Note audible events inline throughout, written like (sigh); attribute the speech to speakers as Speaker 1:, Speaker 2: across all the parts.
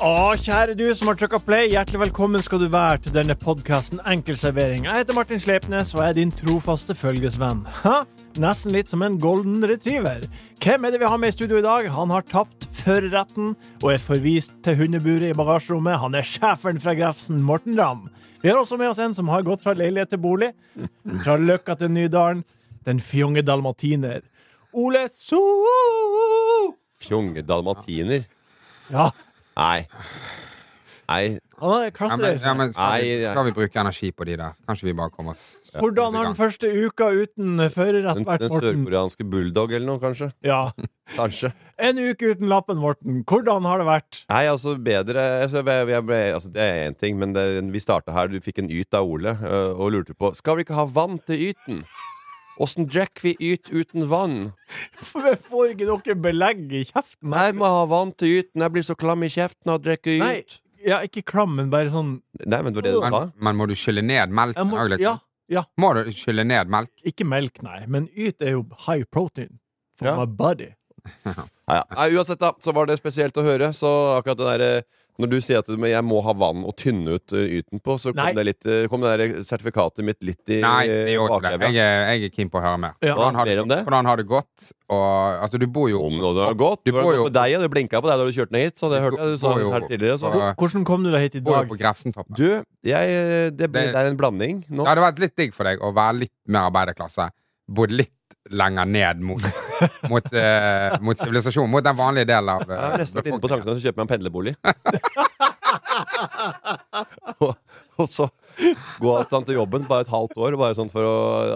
Speaker 1: Å, kjære du som har trykka play, hjertelig velkommen skal du være til denne podkasten Enkel servering. Jeg heter Martin Sleipnes og jeg er din trofaste følgesvenn. Ha? Nesten litt som en golden retriever. Hvem er det vi har med i studio i dag? Han har tapt førerretten og er forvist til hundeburet i bagasjerommet. Han er schæferen fra Grefsen, Morten Ramm. Vi har også med oss en som har gått fra leilighet til bolig. Fra Løkka til Nydalen. Den fjonge dalmatiner. Ole So!
Speaker 2: Fjonge dalmatiner.
Speaker 1: Ja,
Speaker 2: Nei. Nei.
Speaker 1: han er
Speaker 3: Ja, men, ja,
Speaker 1: klassereisende.
Speaker 3: men skal,
Speaker 2: Nei,
Speaker 3: vi,
Speaker 2: ja.
Speaker 3: skal vi bruke energi på de der? Kanskje vi bare kommer oss stort
Speaker 1: Hvordan har den første uka uten førerrett
Speaker 2: Den,
Speaker 1: vært,
Speaker 2: den
Speaker 1: Morten?
Speaker 2: sørkoreanske bulldog eller noe, kanskje?
Speaker 1: Ja.
Speaker 2: Kanskje.
Speaker 1: En uke uten lappen, Morten. Hvordan har det vært?
Speaker 2: Nei, altså bedre altså, jeg, jeg ble, altså, Det er én ting, men det, vi starta her. Du fikk en yt av Ole øh, og lurte på Skal vi ikke ha vann til yten. Åssen drikker vi yt uten vann?
Speaker 1: For jeg får ikke noe belegg i kjeften.
Speaker 2: Nei, jeg må ha vann til yten. Jeg blir så klam i kjeften av å drikke yt.
Speaker 1: Nei, ja, ikke klam, men bare sånn
Speaker 2: Nei, men det var det du
Speaker 3: Men,
Speaker 2: sa.
Speaker 3: men må du skylle ned
Speaker 1: jeg
Speaker 3: melken
Speaker 1: må,
Speaker 3: òg litt?
Speaker 1: ja, ja,
Speaker 3: liksom- Må du skylle ned melk?
Speaker 1: ikke melk, nei. Men yt er jo high protein for
Speaker 2: Ja.
Speaker 1: my body.
Speaker 2: Nei, ja. Nei, uansett, da, så var det spesielt å høre. Så akkurat det derre Når du sier at du- men jeg må ha vann å tynne ut ø, yten på, så
Speaker 1: Nei.
Speaker 2: kom det, litt, ø, kom det der sertifikatet mitt litt i eh,
Speaker 3: Nei, det gjør ikke det.
Speaker 2: bakevja.
Speaker 3: Jeg er, jeg er keen på å høre mer.
Speaker 1: Ja.
Speaker 3: Hvordan har,
Speaker 2: Mer om det?
Speaker 3: hvordan har det gått? Og, altså, du bor jo
Speaker 2: Om noe det var godt.
Speaker 3: Du
Speaker 2: Det var
Speaker 3: bor
Speaker 2: godt
Speaker 3: jo-
Speaker 2: med deg, og det blinka på deg da du kjørte ned hit. Så det hørte jeg du sa
Speaker 3: bor jo
Speaker 2: her tidligere. Så.
Speaker 3: på-
Speaker 1: Hvordan kom du deg hit i
Speaker 3: bor jo
Speaker 1: dag?
Speaker 3: på Grefsentoppen.
Speaker 2: Du, jeg, eh, det, ble,
Speaker 3: Det-
Speaker 2: det er en blanding nå.
Speaker 3: Det hadde vært litt digg for deg å være litt mer arbeiderklasse. Bodd litt lenger ned
Speaker 2: (laughs)
Speaker 3: mot Mot, eh, mot sivilisasjon. Mot den vanlige delen av eh,
Speaker 2: Jeg er nesten inne på
Speaker 3: befolkningen.
Speaker 2: tankene å kjøpe meg en pendlerbolig. og, og så gå sånn til jobben bare et halvt år. Bare sånn for å,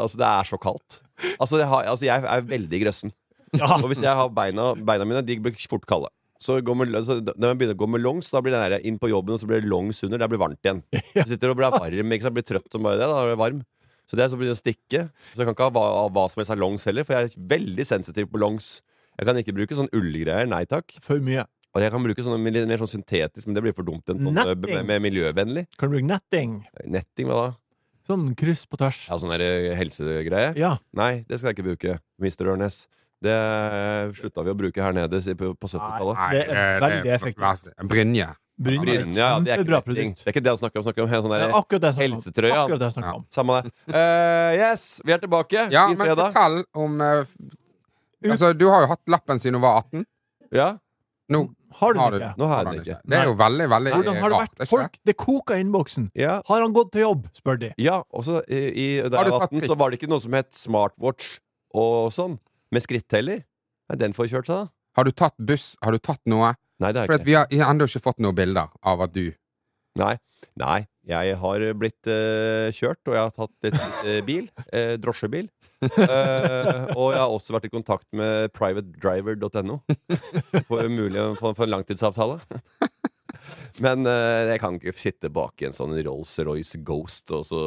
Speaker 2: altså Det er så kaldt. Altså, jeg, har, altså, jeg er veldig grøssen.
Speaker 1: Ja.
Speaker 2: Og hvis jeg har beina, beina mine, de blir fort kalde. Så går med, altså, da- når jeg begynner å gå med longs, da blir det der inn på jobben, og så blir det longs under. Der blir det varmt igjen. Du sitter og blir varm, ikke sant? blir trøtt som bare det. Da blir det varm. Så det er så blir det å stikke. Så jeg kan ikke ha hva, ha hva som helst av longs heller, for jeg er veldig sensitiv på longs. Jeg kan ikke bruke sånn ullgreier. Nei takk.
Speaker 1: For mye.
Speaker 2: Og jeg kan bruke sånne mil- mer sånn syntetisk, men det blir for dumt. En sånn,
Speaker 1: Netting.
Speaker 2: med, med miljøvennlig.
Speaker 1: Kan du bruke netting?
Speaker 2: Netting, hva da?
Speaker 1: Sånn kryss på tvers.
Speaker 2: Ja, sånn der, eh, helsegreie.
Speaker 1: Ja.
Speaker 2: Nei, det skal jeg ikke bruke, Mr. Ørnes. Det eh, slutta vi å bruke her nede si- på, på 70-tallet.
Speaker 3: Nei,
Speaker 1: Det er
Speaker 3: eh,
Speaker 1: veldig effektivt.
Speaker 3: Brynje.
Speaker 1: Bryn er et
Speaker 2: Brynja, ja, det er
Speaker 1: kjempebra
Speaker 2: ikke netting.
Speaker 1: produkt.
Speaker 2: Det er ikke det han snakker om. (laughs) Han snakker om en sånn
Speaker 1: Det
Speaker 2: der
Speaker 1: er akkurat det jeg snakket om.
Speaker 2: helsetrøye.
Speaker 1: Akkurat det jeg snakket
Speaker 3: Ja.
Speaker 1: om.
Speaker 2: Samme det. Eh, yes, vi er tilbake
Speaker 3: Ja,
Speaker 2: i
Speaker 3: men
Speaker 2: fredag.
Speaker 3: fortell om eh, f- Altså, du har jo hatt lappen siden du var 18.
Speaker 2: Ja,
Speaker 3: Nå
Speaker 1: Har du
Speaker 3: har du
Speaker 1: den ikke?
Speaker 2: nå har
Speaker 3: har
Speaker 2: jeg
Speaker 3: du
Speaker 2: den ikke.
Speaker 3: Det er jo veldig, veldig
Speaker 1: Hvordan har det
Speaker 3: rart, er
Speaker 1: vært?
Speaker 3: ikke det?
Speaker 1: Folk, det koker i innboksen.
Speaker 2: Ja,
Speaker 1: Har han gått til jobb, spør de.
Speaker 2: ja og så i, i, da
Speaker 3: Har
Speaker 2: jeg
Speaker 3: du
Speaker 2: var
Speaker 3: tatt
Speaker 2: 18,
Speaker 3: skritt?
Speaker 2: så var det ikke noe som het smartwatch og sånn. Med skritteller. Nei, den får kjørt seg, da.
Speaker 3: Har du tatt buss? Har du tatt noe?
Speaker 2: Nei, det er
Speaker 3: For
Speaker 2: ikke
Speaker 3: at vi har vi har ennå ikke fått noen bilder av at du
Speaker 2: Nei. Nei, jeg har blitt eh, kjørt, og jeg har tatt litt eh, bil. eh, drosjebil. Eh, og jeg har også vært i kontakt med privatedriver.no for mulig for, for en langtidsavtale. Men eh, jeg kan ikke sitte bak i en sånn Rolls-Royce Ghost og så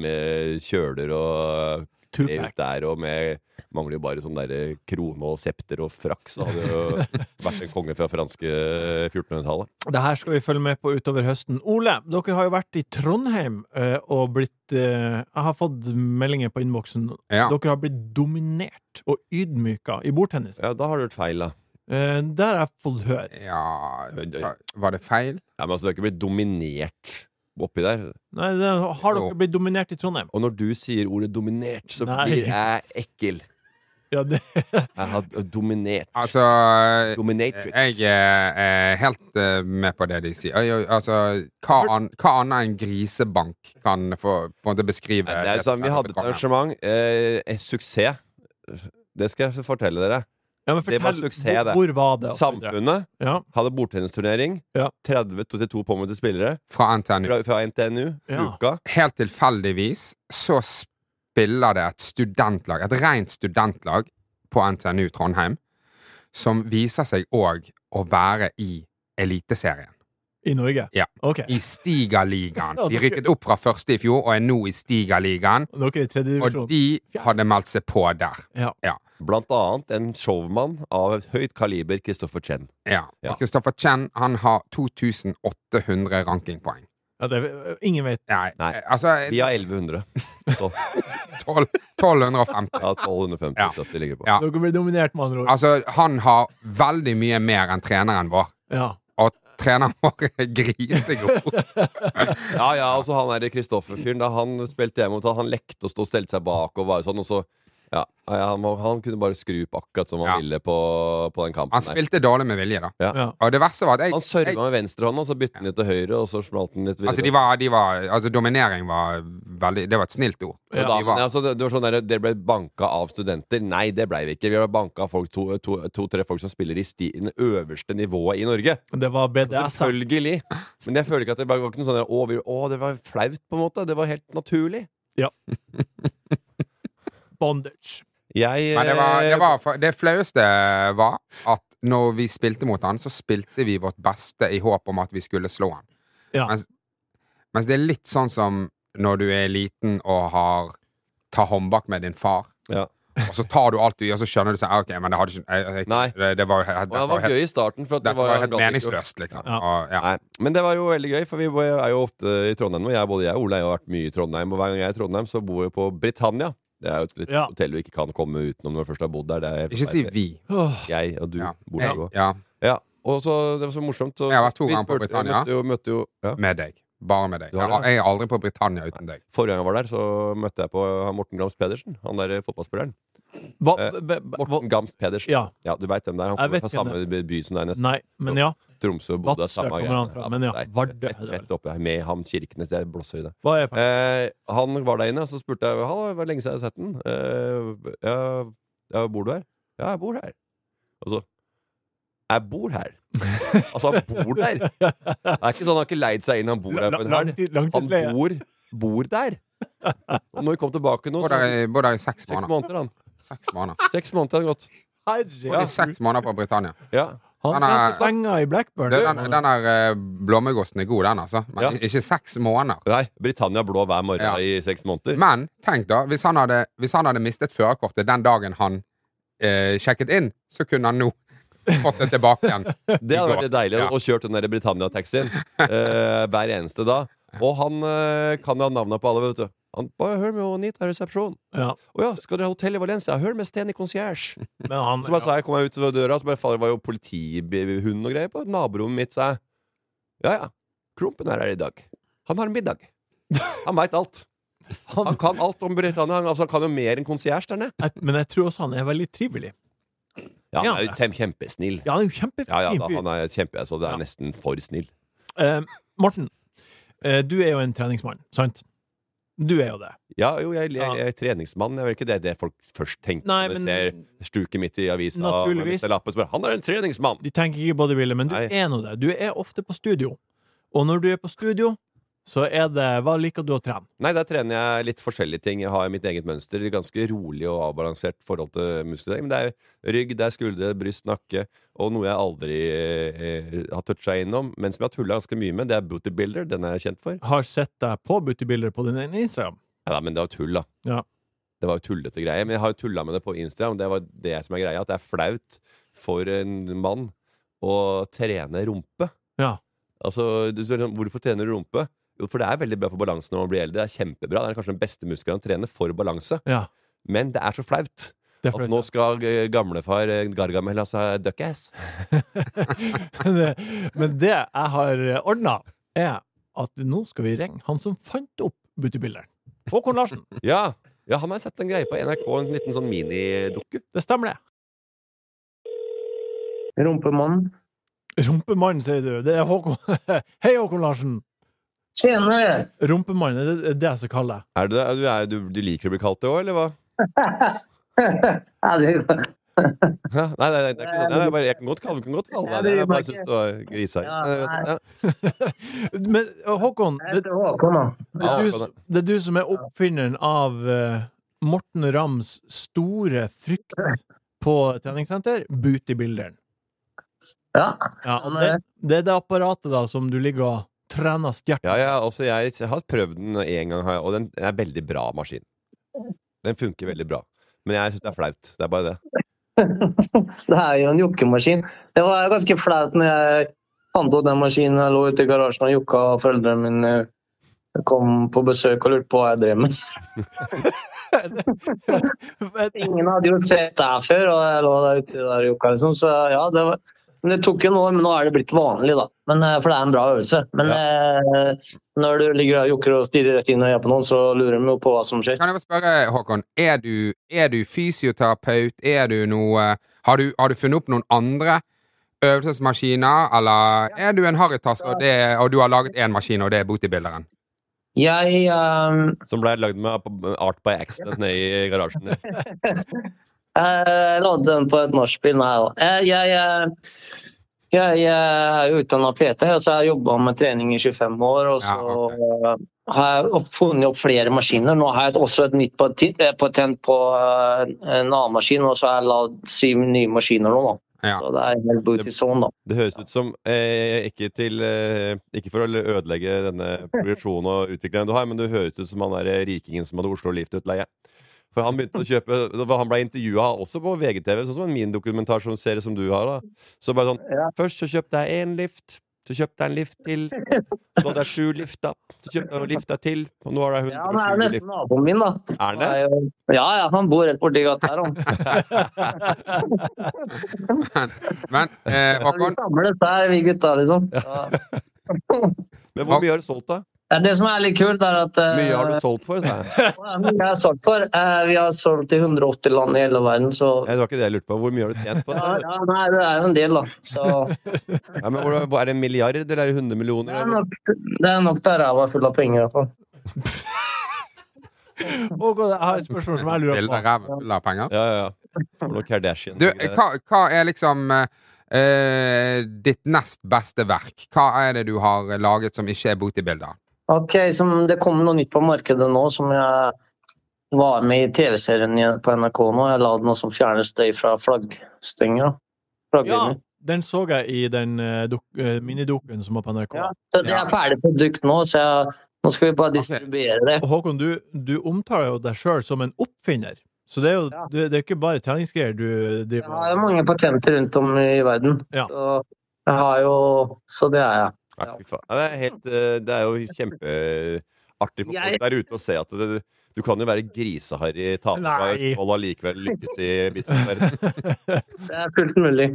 Speaker 2: med kjøler og det
Speaker 1: Tupac.
Speaker 2: ut der, og med Mangler jo bare sånn der krone og septer og frakk, så hadde jeg jo vært en konge fra franske eh, 1400-tallet.
Speaker 1: Det her skal vi følge med på utover høsten. Ole, dere har jo vært i Trondheim eh, og blitt eh, Jeg har fått meldinger på innboksen.
Speaker 3: Ja.
Speaker 1: Dere har blitt dominert og ydmyka i bordtennis.
Speaker 2: Ja, da har du hørt feil, da.
Speaker 1: Eh, der har jeg fått høre.
Speaker 3: ja hva- Var det feil?
Speaker 2: Ja, men altså, du har ikke blitt dominert oppi der.
Speaker 1: Nei, det, har
Speaker 3: Jo.
Speaker 1: dere blitt dominert i Trondheim?
Speaker 2: Og når du sier ordet dominert, så
Speaker 1: Nei.
Speaker 2: blir jeg ekkel.
Speaker 1: Ja, det,
Speaker 2: Jeg har dominert.
Speaker 3: Altså eh,
Speaker 2: Dominatrix.
Speaker 3: Jeg er, er helt eh, med på det de sier. Oi, oi, Altså, hva, an, hva annet enn grisebank kan få, på en måte beskrive
Speaker 2: Nei, det er
Speaker 3: det
Speaker 2: sånn, vi
Speaker 3: som
Speaker 2: hadde et
Speaker 3: kommer?
Speaker 2: arrangement. Eh, en suksess. Det skal jeg fortelle dere.
Speaker 1: ja, men
Speaker 2: Det var
Speaker 1: fortell,
Speaker 2: suksess,
Speaker 1: hvor-
Speaker 2: det.
Speaker 1: Hvor var det? og så videre?
Speaker 2: Samfunnet
Speaker 1: Ja.
Speaker 2: hadde bordtennisturnering.
Speaker 1: Ja.
Speaker 2: 30-22 påmeldte spillere
Speaker 3: Fra NTNU.
Speaker 2: fra, fra NTNU.
Speaker 1: Ja.
Speaker 2: Uka.
Speaker 3: Helt tilfeldigvis så spiller det et studentlag, et rent studentlag, på NTNU Trondheim, som viser seg òg å være i Eliteserien.
Speaker 1: I Norge?
Speaker 3: Ja.
Speaker 1: Ok.
Speaker 3: I Stigaligaen. De rykket opp fra første i fjor og er nå i Stigaligaen.
Speaker 1: Dere er i tredje
Speaker 3: Og
Speaker 1: divisjon?
Speaker 3: de hadde meldt seg på der.
Speaker 1: Ja.
Speaker 2: Blant annet en showmann av et høyt kaliber, Christopher Chen.
Speaker 3: Ja.
Speaker 2: Ja.
Speaker 3: Og Kristoffer Chen han har 2800 rankingpoeng.
Speaker 1: ja det, er- eh, ingen vet.
Speaker 3: Nei,
Speaker 2: Nei.
Speaker 3: eh, altså
Speaker 2: Vi har 1100. Så,
Speaker 3: 12, 1250.
Speaker 2: ja, 1250
Speaker 3: Ja.
Speaker 2: så at vi ligger på.
Speaker 3: Ja.
Speaker 1: Dere blir dominert, med andre ord.
Speaker 3: Altså, han har veldig mye mer enn treneren vår.
Speaker 1: Ja.
Speaker 3: Og treneren vår (laughs) er grisegod.
Speaker 2: Ja, ja, altså han der Kristoffer-fyren, da han spilte jeg mot han, han lekte og stod og stelte seg bak og var sånn, og så Ja, ja han, var- han kunne bare skru opp akkurat som han
Speaker 3: Ja.
Speaker 2: ville på, på den kampen.
Speaker 3: Han
Speaker 2: der.
Speaker 3: spilte dårlig med vilje, da.
Speaker 2: Ja.
Speaker 1: Ja.
Speaker 3: Og det verste var at jeg,
Speaker 2: Han
Speaker 3: jeg
Speaker 2: sørva med venstrehånda, så bytte han litt til høyre, og så smalt han litt videre.
Speaker 3: Altså, de var, de var, altså dominering var veldig Det var et snilt ord.
Speaker 2: Og da,
Speaker 3: De
Speaker 2: men
Speaker 3: var,
Speaker 2: altså, det, det var sånn der, Dere ble banka av studenter. Nei, det blei vi ikke. Vi ble banka av to-tre to, to, tre folk som spiller i sti, den øverste nivået i Norge.
Speaker 1: Det var
Speaker 3: Altså,
Speaker 1: BDS.
Speaker 2: Selvfølgelig. Men jeg føler ikke at det var, var ikke noe sånn der, å, vi, å, det var flaut, på en måte. Det var helt naturlig.
Speaker 1: Bondage.
Speaker 2: Jeg
Speaker 3: men det, var, det,
Speaker 2: eh,
Speaker 3: var, for- det flaueste var at når vi spilte mot han, så spilte vi vårt beste i håp om at vi skulle slå han.
Speaker 1: Ja.
Speaker 3: Mens, mens det er litt sånn som når du er liten og har tar håndbak med din far.
Speaker 2: Ja.
Speaker 3: Og så tar du alt du gir, og så skjønner du sånn ah, Ok, men det hadde ikke jeg, jeg,
Speaker 2: Nei.
Speaker 3: Det, det var jo helt,
Speaker 2: Og det
Speaker 3: dette
Speaker 2: var
Speaker 3: var helt,
Speaker 2: gøy i starten. For at det
Speaker 3: dette var
Speaker 2: var,
Speaker 3: jo
Speaker 2: han
Speaker 3: helt
Speaker 2: gadd ikke å-
Speaker 3: meningsløst, liksom.
Speaker 1: Ja.
Speaker 3: Og, ja.
Speaker 2: Nei. Men det var jo veldig gøy, for vi bo- er jo ofte i Trondheim nå. Jeg, både jeg og Ole har jo vært mye i Trondheim, og hver gang jeg er i Trondheim, så bor jeg på Britannia. Det er jo et litt
Speaker 1: Ja.
Speaker 2: hotell vi ikke kan komme utenom når vi først har bodd der. Det er
Speaker 3: Ikke si vi.
Speaker 1: Åh,
Speaker 2: jeg og du
Speaker 3: Ja.
Speaker 2: bor der
Speaker 3: Jeg,
Speaker 2: også.
Speaker 3: ja,
Speaker 2: Ja, og så Det var så morsomt. Så,
Speaker 3: Jeg har vært to
Speaker 2: vi
Speaker 3: ganger på
Speaker 2: spurte-
Speaker 3: Britannia.
Speaker 2: Møtte jo, møtte jo, ja.
Speaker 3: med deg. Bare med deg.
Speaker 2: Du har
Speaker 3: Jeg,
Speaker 2: det,
Speaker 3: jeg er aldri på Britannia uten deg.
Speaker 2: Forrige gang jeg var der, så møtte jeg på han Morten Gams Pedersen. Han der eh, fotballspilleren.
Speaker 1: Hva,
Speaker 2: Eh,
Speaker 1: b- b-
Speaker 2: Morten
Speaker 1: hva
Speaker 2: Gams Pedersen.
Speaker 1: Ja.
Speaker 2: Ja, du veit hvem det er. Han
Speaker 1: Jeg
Speaker 2: kommer
Speaker 1: vet
Speaker 2: fra
Speaker 1: hvem
Speaker 2: samme by som deg, nesten.
Speaker 1: Nei, men ja.
Speaker 2: Tromsø og Bodø.
Speaker 1: Vadsø
Speaker 2: Samme
Speaker 1: kommer
Speaker 2: greie.
Speaker 1: han fra, men ja,
Speaker 2: det er
Speaker 1: Vardø er
Speaker 2: Fett,
Speaker 1: det
Speaker 2: fett,
Speaker 1: vel.
Speaker 2: fett oppe med ham Kirkenes. Jeg blåser i det.
Speaker 1: Hva er jeg på?
Speaker 2: Eh, han var der inne, og så spurte jeg Hallo, det var lenge siden jeg har sett den. Eh, ja, ja, bor du her? Ja, jeg bor her. Og så Jeg bor
Speaker 1: (laughs)
Speaker 2: her. altså, han bor der. Det er ikke sånn han har ikke leid seg inn, han bor der
Speaker 1: La-
Speaker 2: på en
Speaker 1: la-
Speaker 2: helg.
Speaker 1: langtid-
Speaker 2: Han
Speaker 1: Langtidsleie.
Speaker 2: bor, bor der. Og når vi kom tilbake nå,
Speaker 3: Bor
Speaker 2: så
Speaker 3: der i- bor der i seks
Speaker 2: Seks
Speaker 3: måneder.
Speaker 2: måneder, han.
Speaker 3: Seks måneder.
Speaker 2: Seks måneder har gått.
Speaker 3: Bor der i
Speaker 1: Herregud.
Speaker 3: seks måneder på Britannia.
Speaker 2: Ja.
Speaker 1: Han
Speaker 3: Han er-
Speaker 1: trente stenger i Blackburn.
Speaker 3: Du, den, den der eh, blåmuggosten er god, den, altså. Men
Speaker 2: Ja.
Speaker 3: i- ikke seks måneder.
Speaker 2: Nei, Britannia blå hver morgen
Speaker 3: Ja.
Speaker 2: i seks måneder.
Speaker 3: Men tenk, da. Hvis han hadde, hvis han hadde mistet førerkortet den dagen han eh, sjekket inn, så kunne han nå fått det tilbake igjen.
Speaker 2: Det hadde vært litt deilig
Speaker 3: Ja.
Speaker 2: å kjøre den der Britannia-taxien eh, hver eneste dag. Og han eh, kan jo ha navnet på alle, vet du. Han bare hør med Anita resepsjon.
Speaker 1: Ja,
Speaker 2: Å ja, skal dere ha hotell i Valencia? Hør med Steny concierge.
Speaker 1: men han,
Speaker 2: Så bare sa jeg, kom jeg ut ved døra, så bare fader, det var jo politihund og greier på naborommet mitt, sa jeg. Ja ja, Klumpen er her i dag. Han har middag. Han veit alt. Han kan alt om Britannia. Han, altså, han kan jo mer enn concierge der nede.
Speaker 1: jeg, men jeg tror også han er veldig trivelig.
Speaker 2: Ja, han er jo kjem- kjempesnill.
Speaker 1: Ja, han er jo kjempefin
Speaker 2: Ja, ja, da,
Speaker 1: fyr.
Speaker 2: han er kjempe, altså, det er
Speaker 1: Ja.
Speaker 2: nesten for snill.
Speaker 1: Eh, Morten, eh, du er jo en treningsmann, sant? Du er jo det.
Speaker 2: Ja, jo, jeg, jeg,
Speaker 1: Ja.
Speaker 2: jeg er treningsmann. Jeg vet ikke det er det folk først tenker
Speaker 1: Nei,
Speaker 2: når de
Speaker 1: men-
Speaker 2: ser stuket mitt i ah, avisa.
Speaker 1: Naturligvis.
Speaker 2: med disse lappene som er, Han er en treningsmann!
Speaker 1: De tenker ikke bodybuilder, men du
Speaker 2: Nei.
Speaker 1: er nå det. Du er ofte på studio. Og når du er på studio, så er det Hva liker du å trene?
Speaker 2: Nei, der trener jeg litt forskjellige ting. Jeg har mitt eget mønster. Ganske rolig og avbalansert forhold til muskeldeling. Men det er rygg, det er skuldre, bryst, nakke. Og noe jeg aldri eh, har toucha innom, men som jeg har tulla ganske mye med, det er bootybuilder. Den er jeg kjent for.
Speaker 1: Har sett deg på bootybilder på din Instagram.
Speaker 2: Ja, nei, men det var tull, da.
Speaker 1: Ja.
Speaker 2: Det var jo tullete greier. Men jeg har jo tulla med det på Instagram. Det var det som er greia, at det er flaut for en mann å trene rumpe.
Speaker 1: Ja.
Speaker 2: Altså, du spør sånn, hvorfor trener du rumpe? Jo, for det er veldig bra for balansen når man blir eldre. Det er kjempebra. Det er kanskje den beste muskelen å trene for balanse.
Speaker 1: Ja,
Speaker 2: Men det er så flaut
Speaker 1: det er
Speaker 2: at
Speaker 1: flaut.
Speaker 2: nå skal eh, gamlefar eh, Gargamel ha seg duckass.
Speaker 1: Men det jeg har ordna, er at nå skal vi ringe han som fant opp bootybilderen. Håkon Larsen.
Speaker 2: Ja. ja, han har sett en greie på NRK, en liten sånn minidukke.
Speaker 1: Det stemmer, det.
Speaker 4: Rumpemannen.
Speaker 1: Rumpemannen, sier du. Det er Håkon. (laughs) Hei, Håkon Larsen.
Speaker 4: Tjenere!
Speaker 1: Rumpemann, er det det jeg skal kalle deg? (laughs)
Speaker 2: Er du, det? er du, er du, du liker å bli kalt det òg, eller hva?
Speaker 4: (laughs) ja, det går.
Speaker 2: Hæ? (laughs) Nei, nei, nei, det er ikke sånn. Nei, jeg, bare, jeg kan godt kalle, kan godt kalle
Speaker 4: Ja,
Speaker 2: deg det.
Speaker 4: det
Speaker 2: Jeg bare
Speaker 4: gjør meg
Speaker 2: syns
Speaker 4: ikke-
Speaker 2: du var grisehang.
Speaker 4: Ja,
Speaker 2: Nei, jeg vet ikke.
Speaker 1: Men eh, Håkon,
Speaker 4: Jeg
Speaker 1: det,
Speaker 4: heter Håkon, da.
Speaker 1: det, er
Speaker 2: Ja,
Speaker 1: du,
Speaker 2: Håkon,
Speaker 1: s- det er du som er oppfinneren av eh, Morten Rams store frykt på treningssenter, bootybilderen.
Speaker 4: Ja.
Speaker 1: Ja, og
Speaker 4: Nei.
Speaker 1: det, det er det apparatet da som du ligger og trener stjert
Speaker 2: Ja, ja, altså jeg s- har prøvd den en gang, har jeg, og den er en veldig bra maskin. Den funker veldig bra. Men jeg syns det er flaut. Det er bare det.
Speaker 4: Det er jo en jokkemaskin. Det var ganske flaut når jeg fant ut den maskinen jeg lå ute i garasjen og jokka, og foreldrene mine eh, kom på besøk og lurte på hva jeg drev med. (laughs)
Speaker 1: (laughs)
Speaker 4: Ingen hadde jo sett det her før, og jeg lå der ute der og jokka, liksom. Så ja, det var men det tok jo noe, men nå er det blitt vanlig, da. Men, eh, for det er en bra øvelse. Men eh, når du ligger og jokker og stirrer rett inn og øyet på noen, så lurer de jo på hva som skjer.
Speaker 3: Kan jeg bare spørre, Håkon, er du, er du fysioterapeut? Er du noe har du, har du funnet opp noen andre øvelsesmaskiner, eller er du en harrytass, og, det- og du har laget én maskin, og det er bootybilderen?
Speaker 4: Jeg eh,
Speaker 2: Som ble lagd med ap- Art by Accident nede i garasjen.
Speaker 4: Jeg lagde Eh, den på et nachspiel, nei da. Jeg, jeg, jeg, jeg, er jo utdanna PT, og så har jeg jobba med trening i 25 år. Og så
Speaker 3: Ja, ok.
Speaker 4: eh, har jeg opp- funnet opp flere maskiner. Nå har jeg et- også et nytt patent, patent på eh, en annen maskin, og så har jeg lagd syv nye maskiner nå. Da.
Speaker 3: Ja.
Speaker 4: Så det er helt booty zone, da.
Speaker 2: Det høres ut som eh, ikke, til, eh, ikke for å ødelegge denne progresjonen og utviklingen du har, men det høres ut som han der rikingen som hadde Oslo Lift-utleie. For han begynte å kjøpe For han ble intervjua også på VGTV, sånn som en mindokumentar som ser som du har. da Så bare sånn
Speaker 4: Ja.
Speaker 2: Først så kjøpte jeg én lift, så kjøpte jeg en lift til, så hadde jeg sju lifter, så kjøpte jeg noen lifter til, og nå har jeg
Speaker 4: Ja, han er jo
Speaker 2: 120
Speaker 4: nesten
Speaker 2: lifter.
Speaker 4: naboen min, da.
Speaker 2: Er han det?
Speaker 4: Han er jo- Ja, ja, han bor rett borti gata her. han.
Speaker 3: Men eh,
Speaker 4: Vi
Speaker 3: Håkon,
Speaker 4: samles der, vi gutta, liksom. Ja.
Speaker 2: Men hvor mye har du solgt, da?
Speaker 4: Det er Det som er litt kult, er at eh,
Speaker 2: Mye har du solgt for? sa jeg.
Speaker 4: Ja, men Jeg har solgt for. Eh, Vi har solgt i 180 land i hele verden, så
Speaker 2: Nei, Det var ikke det jeg lurte på. Hvor mye har du tjent på
Speaker 4: (laughs) ja,
Speaker 2: det?
Speaker 4: ja, nei, det er jo en del, da. Så
Speaker 2: Ja, men hvor- hvor- Er det en milliard, eller er det 100 millioner?
Speaker 4: det er
Speaker 2: eller?
Speaker 4: nok, det er nok der ræva er full av penger. i hvert fall.
Speaker 1: Og jeg har et spørsmål som jeg lurer
Speaker 3: vil
Speaker 1: på.
Speaker 3: ræva full av penger?
Speaker 2: Ja, ja, ja. For noe Kardashian.
Speaker 3: Du, hva, hva er liksom eh, eh, ditt nest beste verk? Hva er det du har laget som ikke er bootybilder?
Speaker 4: Ok, som Det kom noe nytt på markedet nå som jeg var med i TV-serien igjen på NRK nå. Jeg la noe som fjerner støy fra
Speaker 1: Ja,
Speaker 4: flaggstenger. da. Flagglinjer.
Speaker 1: den så jeg i den eh, dok- eh, minidokuen som var på NRK.
Speaker 4: Ja. Så det er ferdig produkt nå, så jeg, nå skal vi bare distribuere det.
Speaker 1: Og Håkon, du, du omtaler jo deg sjøl som en oppfinner. Så det er jo
Speaker 4: Ja.
Speaker 1: du, det er ikke bare treningsgreier du
Speaker 4: Jeg
Speaker 1: driver
Speaker 4: har jo
Speaker 1: med.
Speaker 4: mange patenter rundt om i verden,
Speaker 1: Ja.
Speaker 4: så, jeg har jo, så det er jeg.
Speaker 2: Nei, fy faen. Ja, Det, er helt, eh, det er jo kjempeartig for
Speaker 4: Jeg-
Speaker 2: folk der ute å se at det, du kan jo være griseharry taper fra
Speaker 1: Nei.
Speaker 2: Østfold og allikevel lykkes i businessverdenen.
Speaker 4: Det er fullt mulig.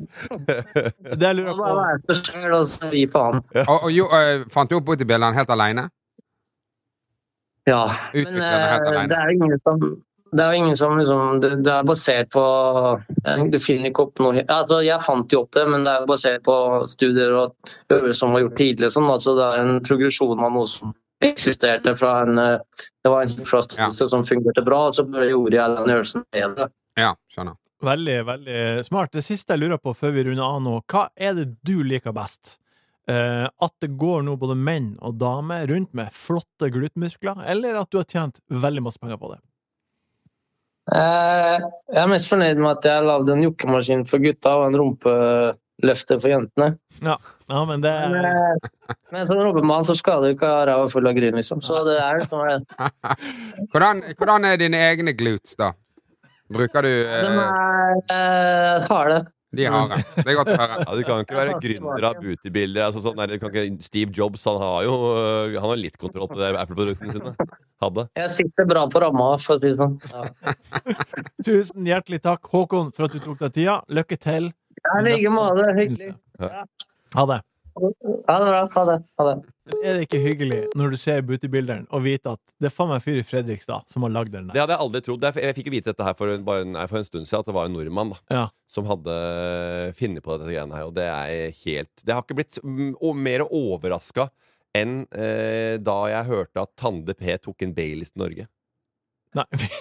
Speaker 1: Det jeg
Speaker 4: Det
Speaker 1: lurer
Speaker 4: må bare
Speaker 1: på
Speaker 4: være seg selv, og så gi faen.
Speaker 3: Og, og jo, eh, fant du opp bootybilderen helt aleine?
Speaker 4: Ja.
Speaker 3: Utvikle
Speaker 4: Men
Speaker 3: det helt
Speaker 4: eh,
Speaker 3: alene.
Speaker 4: det er jo ingen som det er jo ingen som liksom Det, det er basert på eh, Du finner ikke opp noe altså, Jeg fant jo opp det, men det er jo basert på studier og øvelser som var gjort tidligere. Sånn. Altså, det er en progresjon av noe som eksisterte fra en eh, Det var en forståelse som fungerte bra, og så bare gjorde jeg den øvelsen bedre.
Speaker 3: Ja, skjønner.
Speaker 1: Veldig, veldig smart. Det siste jeg lurer på før vi runder av nå, hva er det du liker best? Eh, at det går nå både menn og damer rundt med flotte gluttmuskler, eller at du har tjent veldig masse penger på det?
Speaker 4: Eh, Jeg er mest fornøyd med at jeg lagde en jokkemaskin for gutta og en rumpeløfter for jentene.
Speaker 1: Ja, men det
Speaker 4: Men, eh, Men som rumpemann så skal du ikke ha ræva full av gryn, liksom. Så det er liksom det.
Speaker 3: Hvordan, hvordan er dine egne glutes, da? Bruker du
Speaker 4: De
Speaker 3: eh,
Speaker 4: er eh, harde.
Speaker 3: De har det. Det er godt å høre.
Speaker 2: Ja, du kan jo ikke være gründer av bootybilder. Altså, sånn, der, du kan ikke, Steve Jobs han har jo eh, han har litt kontroll på det Apple-produktene sine. Hadde.
Speaker 4: Jeg sitter bra på ramma, for å si det sånn. Ja.
Speaker 1: Tusen hjertelig takk, Håkon, for at du tok deg tida. Lykke til.
Speaker 4: Ja, I like måte. Hyggelig.
Speaker 1: Ha det.
Speaker 4: Ha det bra. Ha det. Ha det.
Speaker 1: Er det ikke hyggelig når du ser bootybilderen og vite at det er faen meg en fyr i Fredrikstad som har lagd den der?
Speaker 2: Det hadde jeg aldri trodd. Det er- Jeg fikk jo vite dette her for en, bare en, nei, for en stund siden, at det var en nordmann da,
Speaker 1: Ja.
Speaker 2: som hadde funnet på dette greiene her. Og det er helt Det har ikke blitt mm, o- mer overraska enn eh, da jeg hørte at Tande P tok en Baileys til Norge.
Speaker 1: Nei, (laughs)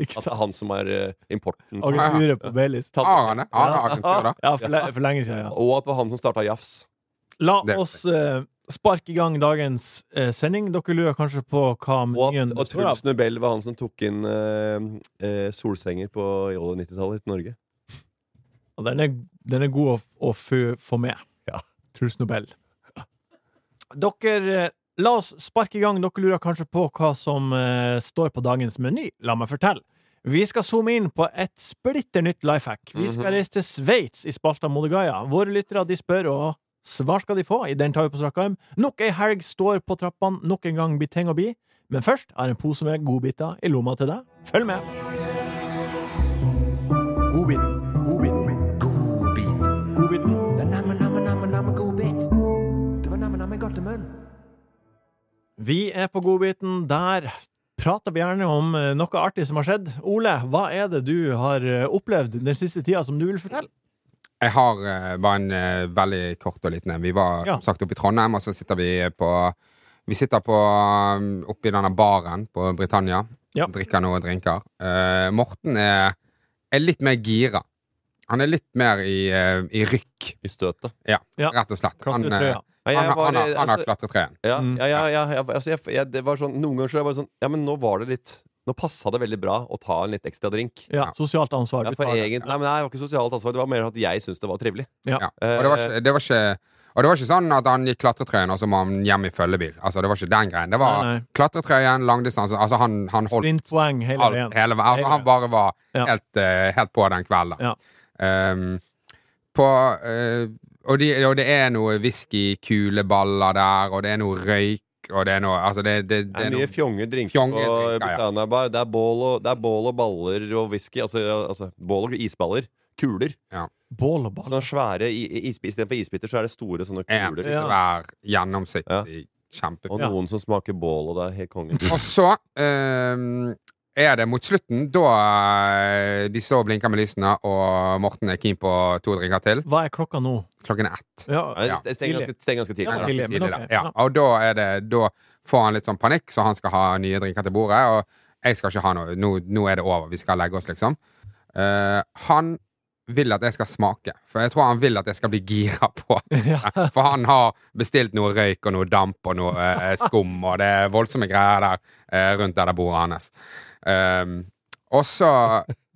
Speaker 1: ikke
Speaker 2: Altså
Speaker 1: sant?
Speaker 2: han som er eh, importen.
Speaker 1: Og
Speaker 3: ja.
Speaker 1: uret på Baileys.
Speaker 3: Har
Speaker 2: Tande.
Speaker 3: han det? Har han akseptert det?
Speaker 1: Ja, for, le for lenge siden, ja.
Speaker 2: Og at det var han som starta Jafs.
Speaker 1: La
Speaker 3: Det-
Speaker 1: oss eh, sparke i gang dagens eh, sending. Dere lurer kanskje på hva
Speaker 2: Og at
Speaker 1: menyen
Speaker 2: og
Speaker 1: består av.
Speaker 2: Truls Nobel var han som tok inn eh, eh, solsenger på i 90-tallet til Norge.
Speaker 1: Og den er, den er god å, å få, få med.
Speaker 2: Ja.
Speaker 1: Truls Nobel. Dere, eh, la oss sparke i gang. Dere lurer kanskje på hva som eh, står på dagens meny. La meg fortelle. Vi skal zoome inn på et splitter nytt life hack. Vi skal
Speaker 2: Mhm.
Speaker 1: reise til Sveits i spalta Modegaia. Våre lyttere de spør, og svar skal de få. I den tar vi på strak arm. Nok ei helg står på trappene, nok en gang blir ting å bli. Men først har jeg en pose med godbiter i lomma til deg. Følg med! Godbit, godbit, godbiten. Vi er på godbiten. Der prater vi gjerne om eh, noe artig som har skjedd. Ole, hva er det du har eh, opplevd den siste tida som du vil fortelle?
Speaker 3: Jeg har eh, bare en eh, veldig kort og liten en. Vi var
Speaker 1: Ja.
Speaker 3: som sagt oppe i Trondheim, og så sitter vi på Vi sitter på um, oppe i denne baren på Britannia.
Speaker 1: Ja.
Speaker 3: Drikker noen drinker. Eh, Morten er, er litt mer gira. Han er litt mer i, eh, i rykk,
Speaker 2: I støtet.
Speaker 1: Ja.
Speaker 3: rett og slett. Han, eh,
Speaker 1: Klatretrøya.
Speaker 2: Nei, jeg
Speaker 3: han, har-
Speaker 2: var-
Speaker 3: han, har- han har
Speaker 2: altså-
Speaker 3: klatretreen.
Speaker 2: Ja,
Speaker 1: Mm.
Speaker 2: ja, ja, ja, ja altså, jeg, jeg, det var sånn, Noen ganger så er jeg bare sånn Ja, men nå var det litt Nå passa det veldig bra å ta en litt ekstra drink.
Speaker 1: Ja, sosialt ansvar.
Speaker 2: Ja,
Speaker 1: du
Speaker 2: for
Speaker 1: tar det.
Speaker 2: egentlig, nei, men nei, det var ikke sosialt ansvar. Det var mer at jeg syntes det var trivelig.
Speaker 3: Ja.
Speaker 2: Eh,
Speaker 3: Og, det var ikke, det var ikke, og det var ikke sånn at han gikk klatretrøyen, og så må han hjem i følgebil. Altså, det var ikke den greien. Det var
Speaker 1: Nei, nei.
Speaker 3: klatretrøyen, langdistanse Altså, han, han holdt
Speaker 1: Sprintpoeng hele
Speaker 3: alt,
Speaker 1: veien.
Speaker 3: hele, altså, han bare var
Speaker 1: Ja.
Speaker 3: helt, eh, helt på den kvelden.
Speaker 1: Ja.
Speaker 3: Ehm, på, eh, og, de, og det er noe whiskykuleballer der, og det er noe røyk, og det er noe Altså, det,
Speaker 2: Det
Speaker 3: det, det
Speaker 2: er
Speaker 3: er
Speaker 2: mye
Speaker 3: noe
Speaker 2: fjonge drinker
Speaker 3: Fjonge
Speaker 2: på
Speaker 3: drinker, ja.
Speaker 2: Britannia Bar. Det er bål og, det er bål og baller og whisky. Altså, altså bål og isballer. Kuler.
Speaker 1: Bål og ball.
Speaker 2: Sånne svære i- i- isbi- Istedenfor isbiter så er det store sånne
Speaker 3: en
Speaker 2: kuler. liksom.
Speaker 1: Ja.
Speaker 3: svær, gjennomsiktig
Speaker 2: Og
Speaker 3: kjempefin
Speaker 1: Ja.
Speaker 2: noen som smaker bål, og det er helt
Speaker 1: (laughs)
Speaker 2: konge.
Speaker 3: Og så ehm, er det mot slutten, da eh, de står og blinker med lysene, og Morten er keen på to drinker til.
Speaker 1: Hva er klokka nå?
Speaker 3: Klokken er ett.
Speaker 1: Ja,
Speaker 2: Nei,
Speaker 3: Ja.
Speaker 2: Det stenger ganske, stenger ganske tidlig.
Speaker 1: Ja,
Speaker 2: Ja,
Speaker 3: Det er ganske
Speaker 1: tidlig, men
Speaker 3: tidlig, da.
Speaker 1: ok,
Speaker 3: Ja.
Speaker 1: ja.
Speaker 3: Og da, er det, da får han litt sånn panikk, så han skal ha nye drinker til bordet. Og jeg skal ikke ha noe. Nå, nå er det over. Vi skal legge oss, liksom. Eh, han vil at jeg skal smake, for jeg tror han vil at jeg skal bli gira
Speaker 1: (laughs)
Speaker 3: på.
Speaker 1: Ja.
Speaker 3: For han har bestilt noe røyk og noe damp og noe eh, skum, og det er voldsomme greier der eh, rundt der det bordet hans. Ehm, og så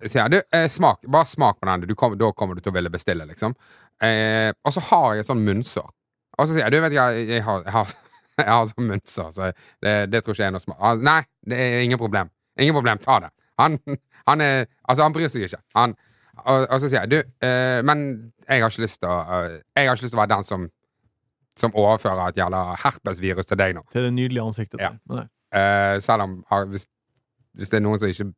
Speaker 3: sier jeg du, eh, smak, bare smak på den, du kom, da kommer du til å ville bestille, liksom. Eh, og så har jeg et sånn munnsår. Og så sier jeg du, vet du hva, jeg har, jeg har, (laughs) jeg har sånn munnsår, så det, det tror ikke jeg er noe smak. Ah, Nei, det er ingen problem. Ingen problem, ta det. Han, han er Altså, han bryr seg ikke. Han og, og så sier jeg, du, eh, men jeg har ikke lyst til å eh, Jeg har ikke lyst til å være den som Som overfører et jævla herpesvirus til deg nå.
Speaker 1: Til det nydelige ansiktet
Speaker 3: Ja.
Speaker 1: der. Nei.
Speaker 3: Eh, selv om har, hvis, hvis det er noen som ikke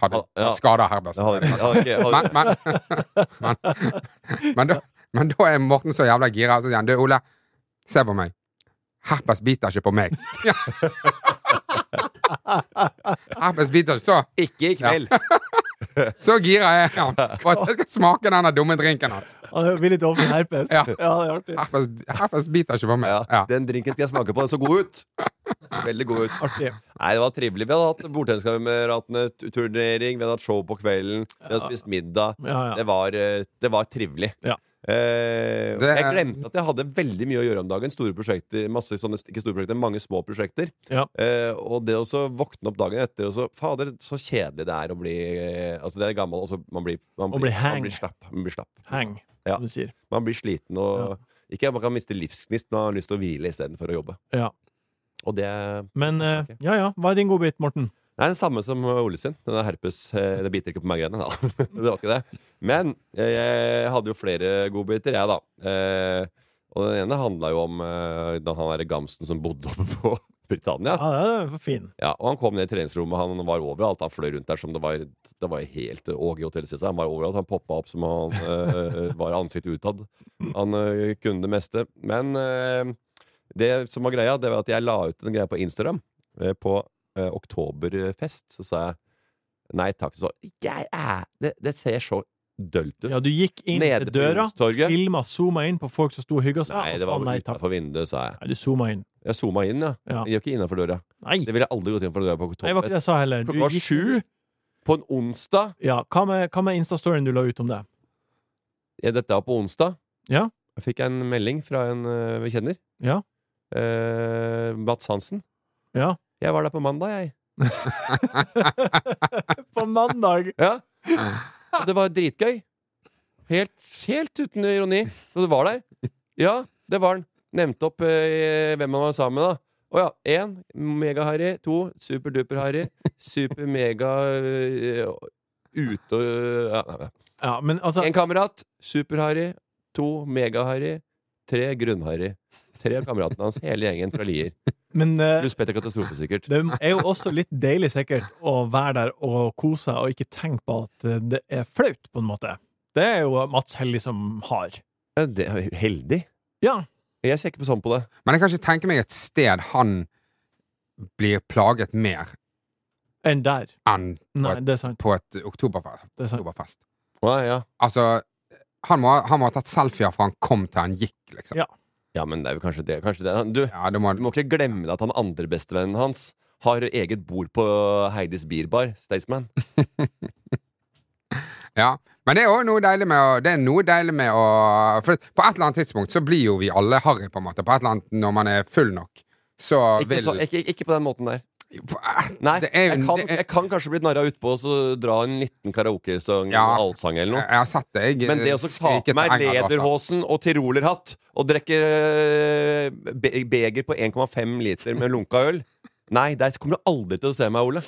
Speaker 3: hadde
Speaker 2: Ja.
Speaker 3: skada herpes.
Speaker 2: Jeg hadde ikke- jeg hadde ikke- jeg hadde-
Speaker 3: Men, men, men, men, da, men da er Morten så jævla gira, og så sier han du, Ole, se på meg. Herpes biter ikke på meg. (laughs) sier han. Herpes biter ikke så
Speaker 2: Ikke i kveld!
Speaker 3: Så gira er han for at jeg skal smake denne dumme drinken hans.
Speaker 1: Han er villig til å ofre herpes.
Speaker 3: Ja.
Speaker 1: ja, det er artig.
Speaker 3: Herpes, herpes biter ikke på meg.
Speaker 2: Ja.
Speaker 3: Ja.
Speaker 2: Den drinken skal jeg smake på. Den så god ut! Veldig god ut.
Speaker 1: artig.
Speaker 2: Nei, det var trivelig. Vi hadde hatt bordtenniskameratene, t- turnering, vi hadde hatt show på kvelden, vi hadde
Speaker 1: Ja.
Speaker 2: spist middag.
Speaker 1: Ja, ja.
Speaker 2: Det var, eh, det var trivelig.
Speaker 1: Ja.
Speaker 2: Eh,
Speaker 3: Det
Speaker 2: jeg
Speaker 3: er-
Speaker 2: glemte at jeg hadde veldig mye å gjøre om dagen. Store prosjekter, masse sånne, ikke store prosjekter, mange små prosjekter.
Speaker 1: Ja.
Speaker 2: Eh, og det å så våkne opp dagen etter og så Fader, så kjedelig det er å bli eh, Altså, det er gammel, og så man blir Man
Speaker 1: Å
Speaker 2: blir,
Speaker 1: bli hang.
Speaker 2: man blir slapp. Man blir, slapp.
Speaker 1: Hang,
Speaker 2: Ja.
Speaker 1: som du sier.
Speaker 2: Man blir sliten og Ikke at man kan miste livsgnist, men man har lyst til å hvile istedenfor å jobbe.
Speaker 1: Ja.
Speaker 2: Og det
Speaker 1: Men eh,
Speaker 2: Ok.
Speaker 1: ja, ja. Hva er din godbit, Morten?
Speaker 2: Det er den samme som Ole sin. Den er herpes. eh, Det biter ikke på (laughs) meg-greiene. da. Det var ikke det. Men eh, jeg hadde jo flere godbiter, jeg, da. Eh, Og den ene handla jo om eh, da han derre Gamsten som bodde oppe på Britannia.
Speaker 1: Ja, det er fin.
Speaker 2: Ja, og han kom ned i treningsrommet, han var overalt. Han fløy rundt der som det var, det var helt eh, Åge i Hotel Cæsar. altså. Han var overalt. Han poppa opp som han eh, var ansiktet utad. Han eh, kunne det meste. Men eh, det som var greia, det var at jeg la ut en greie på Instagram. eh, på eh, oktoberfest, så sa jeg nei takk. Så jeg er Det, det ser så dølt ut.
Speaker 1: Ja, du gikk inn
Speaker 2: Nede
Speaker 1: til
Speaker 2: på
Speaker 1: døra,
Speaker 2: Youngstorget.
Speaker 1: filma, zooma inn på folk som sto og hygga seg, og
Speaker 2: Nei, det
Speaker 1: sa altså
Speaker 2: var
Speaker 1: nei
Speaker 2: vel
Speaker 1: takk.
Speaker 2: utenfor vinduet, sa jeg.
Speaker 1: Nei, du zooma inn.
Speaker 2: Jeg zooma inn, ja.
Speaker 1: Ja.
Speaker 2: Jeg gikk ikke innafor døra.
Speaker 1: Nei,
Speaker 2: Det ville jeg aldri gått inn for døra på
Speaker 1: det var ikke
Speaker 2: oktoberfest.
Speaker 1: det jeg sa heller. Du
Speaker 2: Klokka var
Speaker 1: gikk-
Speaker 2: sju på en onsdag.
Speaker 1: Ja, hva med, hva med Insta-storyen du la ut om det?
Speaker 2: ja, Dette var på onsdag.
Speaker 1: Ja.
Speaker 2: Jeg fikk en melding fra en eh, vi kjenner.
Speaker 1: Ja.
Speaker 2: Eh, Mats Hansen.
Speaker 1: Ja.
Speaker 2: Jeg var der på mandag, jeg.
Speaker 1: På mandag!
Speaker 2: Ja. Og det var dritgøy. Helt, helt uten ironi. Så det var der. Ja, det var den. Nevnte opp eh, hvem han var sammen med, da. Å ja. Én mega-Harry. To super-duper-Harry. Super-mega eh, ute og ja, nei, nei.
Speaker 1: Ja, men altså
Speaker 2: En kamerat. Super-Harry. To mega-Harry. Tre grunn-Harry. Tre av kameratene hans, hele gjengen fra Lier.
Speaker 1: men, eh,
Speaker 2: Pluss Petter Katastrofe, sikkert.
Speaker 1: Det er jo også litt deilig sikkert å være der og kose seg og ikke tenke på at eh, det er flaut, på en måte. Det er jo Mats Hellig som har.
Speaker 2: Ja, Det er jo heldig.
Speaker 1: Ja.
Speaker 2: Jeg ser ikke på sånn på det.
Speaker 3: Men jeg kan ikke tenke meg et sted han blir plaget mer
Speaker 1: Enn der.
Speaker 3: enn
Speaker 1: Nei, det er sant.
Speaker 3: på et oktoberfest.
Speaker 1: Det er sant.
Speaker 3: oktoberfest.
Speaker 2: Å, ja.
Speaker 3: Altså, han må, han må ha tatt selfier fra han kom til han gikk, liksom.
Speaker 1: Ja.
Speaker 2: ja, men det er jo kanskje det. Kanskje det. Du,
Speaker 3: Ja, det må
Speaker 2: Du må ikke glemme at han andre bestevennen hans har eget bord på Heidis Bierbar, Staysman.
Speaker 3: Ja, men det er også noe deilig med å, det er noe deilig med å For at på et eller annet tidspunkt så blir jo vi alle harry, på en måte. På et eller annet når man er full nok. Så
Speaker 2: Ikke,
Speaker 3: vil
Speaker 2: så- ikke, ikke på den måten der.
Speaker 3: På et-
Speaker 2: Nei,
Speaker 3: det er,
Speaker 2: jeg, kan,
Speaker 3: det er,
Speaker 2: jeg kan kanskje bli narra utpå og så dra en liten karaokesang,
Speaker 3: Ja.
Speaker 2: allsang eller noe.
Speaker 3: jeg har sett det. Jeg, eh,
Speaker 2: Men det å så ta
Speaker 3: skriker
Speaker 2: på meg
Speaker 3: til England, altså.
Speaker 2: lederhosen og tirolerhatt og drikke eh, be beger på 1,5 liter med lunka øl Nei, der kommer du aldri til å se meg, Ole.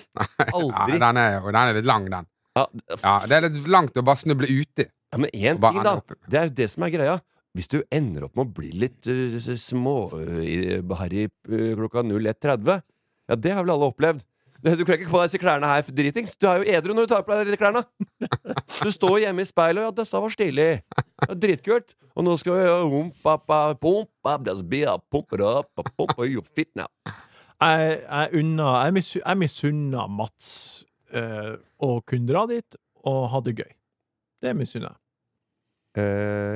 Speaker 2: Aldri.
Speaker 3: Ja, den, er, jo- den er litt lang, den.
Speaker 2: Ja,
Speaker 3: Ja, det er litt langt å bare snuble uti.
Speaker 2: Ja, men én
Speaker 3: Hva
Speaker 2: ting,
Speaker 3: er
Speaker 2: da.
Speaker 3: det oppe?
Speaker 2: Det er jo det som er greia. Hvis du ender opp med å bli litt uh, småharry eh, klokka 01.30 Ja, det har vel alle opplevd. (laughs) Du du kler ikke på deg disse klærne her for dritings. Du er jo edru når du tar på deg disse klærne. Du står hjemme i speilet og 'ja, dette var stilig'. Ja, dritkult. Og nå skal vi ja, umpa, pa, pumpa, das bia, pumpa, da, pa, pumpa, you fit now.
Speaker 1: Jeg, jeg, unna, jeg, misu, jeg misunner Mats eh, å kunne dra dit og ha det gøy. Det misunner jeg.
Speaker 2: Eh,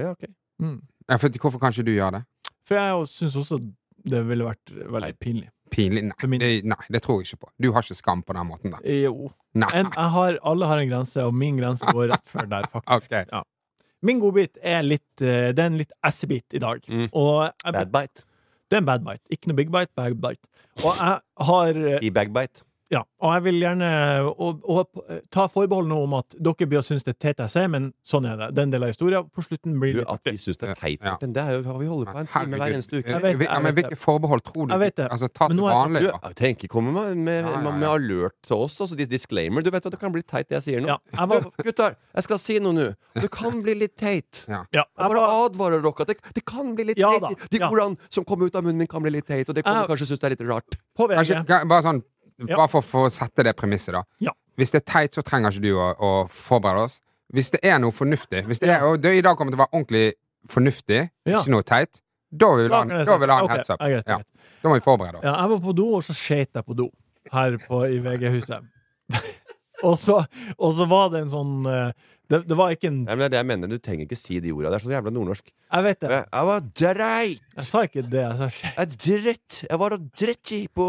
Speaker 2: ja, ok.
Speaker 1: Mm.
Speaker 3: Ja, for, hvorfor kan ikke du gjøre det?
Speaker 1: For jeg syns også det ville vært veldig
Speaker 2: Nei.
Speaker 1: pinlig.
Speaker 3: Pinlig?
Speaker 1: For
Speaker 3: Nei
Speaker 1: min-
Speaker 3: det, nei, det tror jeg ikke på. Du har ikke skam på den måten der.
Speaker 1: Jo.
Speaker 3: Nei.
Speaker 1: En, jeg har, alle har en grense, og min grense går rett før
Speaker 2: (laughs)
Speaker 1: der, faktisk.
Speaker 3: Ok.
Speaker 1: Ja. Min godbit er litt eh, Det er en litt assebit i dag.
Speaker 2: Mm.
Speaker 1: Og jeg,
Speaker 2: Bad bite.
Speaker 1: Det er en bad bite. Ikke noe big bite, bad bite. Og jeg har eh,
Speaker 2: Key bag bite.
Speaker 1: Ja, og jeg vil gjerne og, og, eh, ta forbehold nå om at dere blir å synes det er TTC, men sånn er det. Den delen av historien på slutten blir
Speaker 2: Du,
Speaker 1: litt
Speaker 2: at vi syns det er teit,
Speaker 3: Ja.
Speaker 2: Morten, det er jo hva vi holder på en time hver eneste uke.
Speaker 1: Jeg
Speaker 3: Herregud.
Speaker 1: vet det,
Speaker 3: Ja,
Speaker 1: jeg
Speaker 3: men
Speaker 1: vet
Speaker 3: hvilke
Speaker 1: det.
Speaker 3: forbehold tror du?
Speaker 1: Jeg vet det.
Speaker 3: Altså, ta
Speaker 1: Men
Speaker 3: til
Speaker 1: nå er-
Speaker 3: vanlig,
Speaker 2: Du,
Speaker 3: da.
Speaker 2: jeg tenker, kom med, med,
Speaker 3: Ja, ja, ja.
Speaker 2: med alert til oss. Altså, dis- disclaimer. Du vet at det kan bli teit, det jeg sier nå.
Speaker 1: Ja, jeg var,
Speaker 2: Du, gutter, jeg skal si noe nå. Det kan bli litt teit. Jeg
Speaker 3: Ja.
Speaker 1: (laughs) ja, jeg
Speaker 2: bare
Speaker 1: var,
Speaker 2: advarer dere. at Det, det kan bli litt
Speaker 1: Ja da,
Speaker 2: teit. De
Speaker 1: ja.
Speaker 2: ordene som kommer ut av munnen min, kan bli litt teit. Og det kan
Speaker 1: Jeg-
Speaker 2: du kanskje synes det er litt rart.
Speaker 1: på VG.
Speaker 3: Kanskje, kan- bare sånn,
Speaker 1: Ja.
Speaker 3: bare for, for å sette det premisset, da.
Speaker 1: Ja.
Speaker 3: Hvis det er teit, så trenger ikke du å, å forberede oss. Hvis det er noe fornuftig Hvis det er, og det i dag kommer til å være ordentlig fornuftig,
Speaker 1: Ja.
Speaker 3: ikke noe teit, da vil vi ha en,
Speaker 1: Lager det
Speaker 3: da vil vi ha en
Speaker 1: seg. Ok,
Speaker 3: heads up.
Speaker 1: ja, greit,
Speaker 3: Ja.
Speaker 1: greit.
Speaker 3: Da må vi forberede oss.
Speaker 1: Ja, jeg var på do, og så skeit jeg på do her på, i VG-huset. (laughs) og, så, og så var det en sånn eh, det, det var ikke en
Speaker 2: Nei, men det er det jeg mener. Du trenger ikke si de orda. Det er så jævla nordnorsk.
Speaker 1: Jeg vet det.
Speaker 2: Jeg, jeg var dreit.
Speaker 1: Jeg sa ikke det. Jeg sa skeit.
Speaker 2: Jeg dritt. Jeg var og dritt i på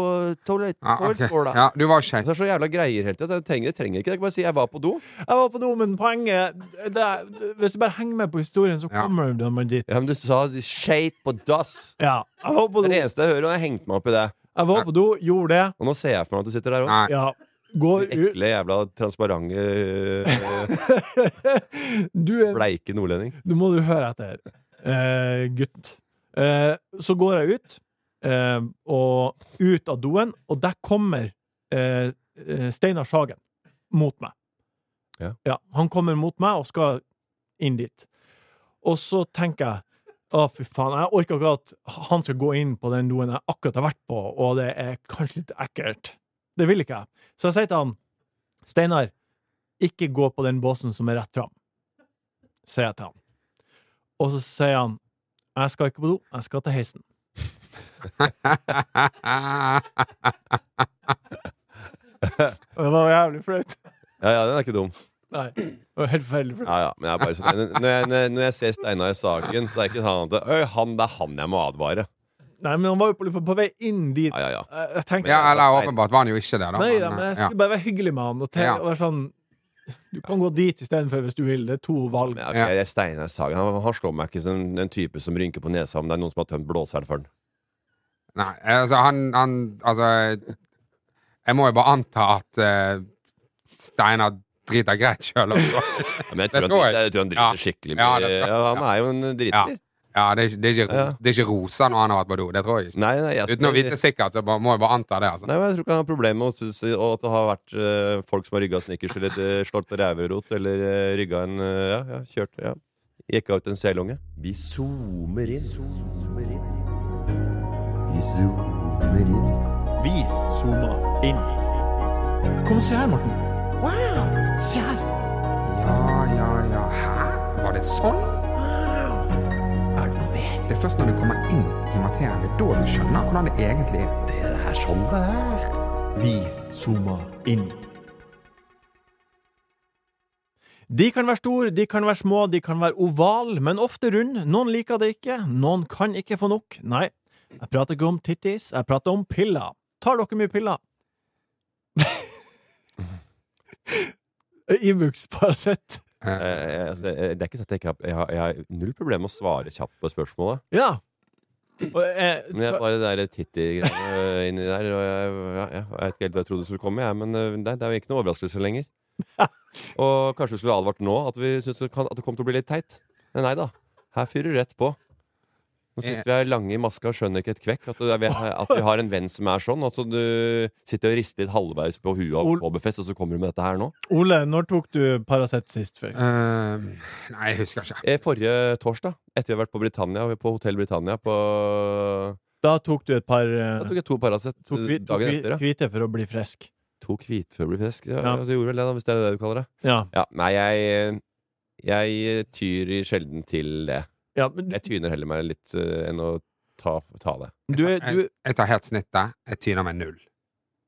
Speaker 2: toalett-
Speaker 3: Ja, ok.
Speaker 2: toalettskåla.
Speaker 3: ja, du var
Speaker 1: (laughs)
Speaker 3: skeit.
Speaker 2: Det er så jævla greier hele tida. Jeg trenger, jeg trenger ikke det. Jeg kan bare si jeg var på do.
Speaker 1: Jeg var på do, men poenget det er, Hvis du bare henger med på historien, så
Speaker 3: Ja.
Speaker 1: kommer du man dit.
Speaker 2: Ja, men du sa skeit på dass.
Speaker 1: Ja, jeg var på do,
Speaker 2: Det er det eneste jeg hører, og jeg hengte meg opp i det.
Speaker 1: jeg var på do gjorde det.
Speaker 2: Og nå ser jeg for meg at du sitter der òg.
Speaker 3: (laughs) Nei.
Speaker 1: Ja. Går
Speaker 2: Din
Speaker 1: ut
Speaker 2: ekle, jævla transparente, øh,
Speaker 1: (laughs) Du er
Speaker 2: bleike nordlending.
Speaker 1: (laughs) Nå må du høre etter, eh, gutt. Eh, så går jeg ut, eh, og ut av doen, og der kommer eh, eh, Steinar Sagen mot meg.
Speaker 2: Ja.
Speaker 1: Han kommer mot meg og skal inn dit. Og så tenker jeg å, fy faen, jeg orker ikke at han skal gå inn på den doen jeg akkurat har vært på, og det er kanskje litt ekkelt. Det vil ikke jeg. Så jeg sier til han, Steinar, ikke gå på den båsen som er rett fram, sier jeg til han. Og så sier han Jeg skal ikke på do, jeg skal til heisen. Og det var jævlig flaut.
Speaker 2: Ja, ja, den er ikke dum.
Speaker 1: Nei, (clears throat) det var helt forferdelig flaut.
Speaker 2: Ja, ja, men jeg er bare sånn Når jeg, når jeg, når jeg ser Steinar Sagen, så er det ikke sånn at Øy, han, det er han jeg må advare.
Speaker 1: Nei, men han var jo på, liksom, på vei inn dit.
Speaker 2: Ja, ja, ja.
Speaker 1: Jeg, jeg tenkte
Speaker 3: Ja, eller åpenbart var han jo ikke det, da.
Speaker 1: Nei da,
Speaker 3: men,
Speaker 1: men jeg
Speaker 3: ja.
Speaker 1: skulle bare være hyggelig med han og, te,
Speaker 3: Ja.
Speaker 1: og være sånn Du kan gå dit istedenfor hvis du vil. Det er to valg.
Speaker 2: Men, ok, det er Steinar Sagen han, han slår meg ikke som en type som rynker på nesa om det er noen som har tømt blåseren for den.
Speaker 3: Nei, altså, han, han Altså Jeg må jo bare anta at eh, Steinar driter greit
Speaker 1: (laughs)
Speaker 3: sjøl.
Speaker 2: Ja, men jeg
Speaker 3: Det
Speaker 2: tror,
Speaker 3: tror
Speaker 2: han,
Speaker 3: jeg.
Speaker 2: jeg tror han
Speaker 3: Ja.
Speaker 2: driter skikkelig
Speaker 3: Ja,
Speaker 2: mye.
Speaker 3: det
Speaker 2: Ja,
Speaker 3: tror jeg.
Speaker 2: han er jo en
Speaker 3: Ja.
Speaker 2: driter.
Speaker 3: Ja, det er, ikke- det, er ikke,
Speaker 2: Ja.
Speaker 3: ro- det er ikke rosa når han har vært på do. Det tror jeg ikke.
Speaker 2: Nei, nei, jeg,
Speaker 3: Uten å vite sikkert, så bare, må jeg bare anta det. altså
Speaker 2: Nei, men Jeg tror ikke han har problemer med å si- og at det har vært eh, folk som har rygga snickers eller eh, slått ræverot eller uh, rygga en eh, Ja, ja, kjørt ja. Jekka ut en selunge. Vi zoomer inn. Vi zoomer inn.
Speaker 1: Vi zooma inn. Kom og se her, Morten. Wow! Se her.
Speaker 3: Ja, ja, ja. Hæ? Var det sånn?
Speaker 2: Er det noe mer?
Speaker 3: Det er først når du kommer inn i materien, det er da du skjønner hvordan det egentlig er.
Speaker 2: Det er sånn det er.
Speaker 1: Vi zooma inn. De kan være store, de kan være små, de kan være oval, men ofte rund. Noen liker det ikke, noen kan ikke få nok. Nei, jeg prater ikke om tittis, jeg prater om piller. Tar dere mye
Speaker 3: (laughs)
Speaker 1: piller? Ibux, Paracet.
Speaker 3: Eh,
Speaker 2: Eh, altså, eh, det er ikke sånn at jeg ikke har Jeg har, jeg har null problem med å svare kjapt på spørsmålet.
Speaker 1: Ja. Og, eh,
Speaker 2: Men jeg, bare det der titti-greiene inni der og jeg, ja, ja, jeg vet ikke helt hva jeg trodde skulle komme, jeg, men eh, det, det er jo ikke noe overraskelse
Speaker 1: (laughs)
Speaker 2: lenger. Og kanskje du skulle advart nå at, vi synes det kan, at det kom til å bli litt teit. Men nei da. Her fyrer det rett på. Nå sitter vi her lange i maska og skjønner ikke et kvekk. At, det er- at vi har en venn som er sånn. Altså du sitter og rister litt halvveis på huet av
Speaker 1: Ol-
Speaker 2: Kåbefest, og så kommer du med dette her nå.
Speaker 1: Ole, når tok du Paracet sist? Før?
Speaker 3: eh, nei, jeg husker ikke.
Speaker 2: Eh, Forrige torsdag, etter vi har vært på Britannia, på Hotell Britannia på
Speaker 1: Da tok du et par
Speaker 2: Da
Speaker 1: eh,
Speaker 2: tok jeg to Paracet
Speaker 1: tok,
Speaker 2: eh,
Speaker 1: vi, tok
Speaker 2: dagen
Speaker 1: vi,
Speaker 2: etter. Ja.
Speaker 1: hvite for å bli frisk.
Speaker 2: To hvitfuglefisk? Ja,
Speaker 1: Ja.
Speaker 2: ja. Du gjorde vel det, da, hvis det er det du kaller det?
Speaker 1: Ja.
Speaker 2: Ja, Nei, jeg, jeg tyr i sjelden til det.
Speaker 1: ja men du,
Speaker 2: Jeg tyner heller meg litt eh, enn å ta, ta det.
Speaker 1: du er du,
Speaker 3: Jeg, jeg tar helt snittet. Jeg tyner med null.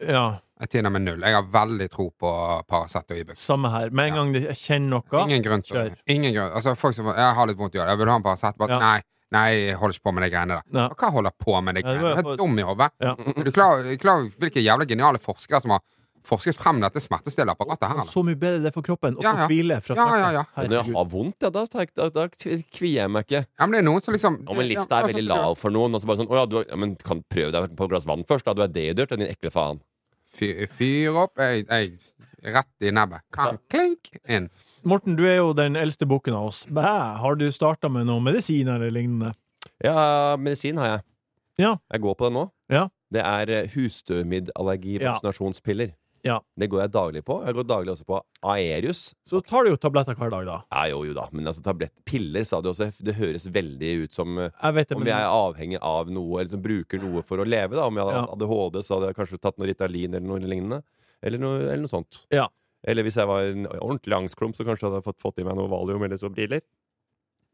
Speaker 1: Ja,
Speaker 3: Jeg tyner med null. Jeg har veldig tro på Paracet og Ibux.
Speaker 1: samme her. Med en
Speaker 3: Ja.
Speaker 1: gang det- jeg kjenner noe
Speaker 3: Ingen grunn til
Speaker 1: Kjør.
Speaker 3: ingen grunn. Altså, folk som Jeg har litt vondt i hodet. Jeg vil ha en Paracet. Bare
Speaker 1: Ja.
Speaker 3: nei, nei, jeg holder ikke på med de greiene der.
Speaker 1: Nei.
Speaker 3: Og Hva holder på med de
Speaker 1: Ja, det
Speaker 3: greiene?
Speaker 1: var-
Speaker 3: Du er helt dum i hodet.
Speaker 1: Ja.
Speaker 3: Er du klar, er du klar over hvilke jævla geniale forskere som har forsket frem dette smertestilleapparatet her?
Speaker 1: Og
Speaker 3: Eller?
Speaker 1: så mye bedre det er for kroppen å
Speaker 3: Ja,
Speaker 1: få
Speaker 3: ja.
Speaker 1: hvile fra
Speaker 3: Ja, ja, ja.
Speaker 1: smerte.
Speaker 2: Men når
Speaker 1: Herregud.
Speaker 2: jeg har vondt, ja, da, tar jeg, ikke- da, da kvier jeg meg ikke.
Speaker 3: Ja, men det er noen som liksom
Speaker 2: Om en lista er veldig lav for noen, og så bare sånn Å ja, du har- ja, men kan prøve deg på et glass vann først, da. Du er dehydrert, din ekle faen.
Speaker 3: Fyr, fyr opp. Jeg, jeg Rett i nebbet. Kan, klink inn.
Speaker 1: Morten, du er jo den eldste bukken av oss. Bæ, har du starta med noe medisin eller lignende?
Speaker 2: Ja, medisin har jeg.
Speaker 1: Ja.
Speaker 2: Jeg går på det nå.
Speaker 1: Ja.
Speaker 2: Det er eh, husstøvmiddallergivaksinasjonspiller.
Speaker 1: Ja.
Speaker 2: Det går jeg daglig på. Jeg går daglig også på Aerius,
Speaker 1: Så tar du jo tabletter hver dag, da.
Speaker 2: Ja, jo, jo da. Men altså, tablettpiller, sa du også. Det høres veldig ut som eh,
Speaker 1: Jeg vet det,
Speaker 2: om
Speaker 1: men
Speaker 2: jeg er avhengig av noe, eller som bruker noe for å leve. da Om jeg hadde
Speaker 1: Ja.
Speaker 2: hatt ADHD, så hadde jeg kanskje tatt noe Ritalin eller noe lignende. Eller noe, eller noe sånt.
Speaker 1: Ja.
Speaker 2: Eller hvis jeg var en ordentlig angstklump, så kanskje hadde jeg fått, fått i meg noe Valium eller så biler.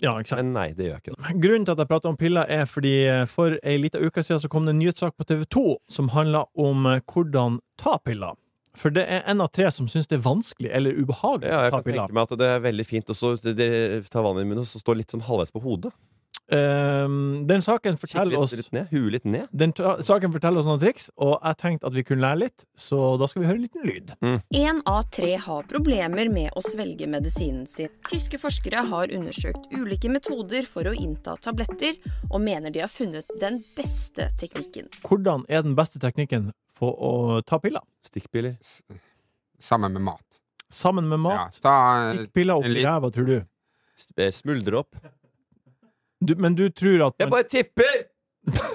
Speaker 1: Ja, ikke sant.
Speaker 2: Men nei, det gjør jeg ikke. da.
Speaker 1: Grunnen til at jeg prater om piller, er fordi eh, for ei lita uke siden så kom det en nyhetssak på TV 2 som handla om eh, hvordan ta piller. For det er en av tre som syns det er vanskelig eller ubehagelig
Speaker 2: Ja,
Speaker 1: å
Speaker 2: jeg
Speaker 1: ta
Speaker 2: kan
Speaker 1: piller.
Speaker 2: tenke meg at det er veldig fint å så- det- det- ta vannet i munnen og så stå litt sånn halvveis på hodet.
Speaker 1: Ehm, den saken
Speaker 2: Kikke
Speaker 1: forteller
Speaker 2: litt,
Speaker 1: oss
Speaker 2: litt ned. Hue litt ned.
Speaker 1: Den ta- saken forteller oss noen triks, og jeg tenkte at vi kunne lære litt, så da skal vi høre en liten lyd.
Speaker 5: Én av tre har problemer med å svelge medisinen sin. Tyske forskere har undersøkt ulike metoder for å innta tabletter, og mener de har funnet den beste teknikken.
Speaker 1: Hvordan er den beste teknikken for å ta piller?
Speaker 2: Stikkpiller.
Speaker 3: Sammen med mat.
Speaker 1: Sammen med
Speaker 3: Ja,
Speaker 1: mat?
Speaker 3: ta
Speaker 1: Stikk piller opp
Speaker 3: en
Speaker 1: i
Speaker 3: liten-
Speaker 1: ræva, tror du.
Speaker 2: S- eh, Smuldre opp.
Speaker 1: du. Men du tror at
Speaker 2: Jeg
Speaker 1: man,
Speaker 2: bare tipper!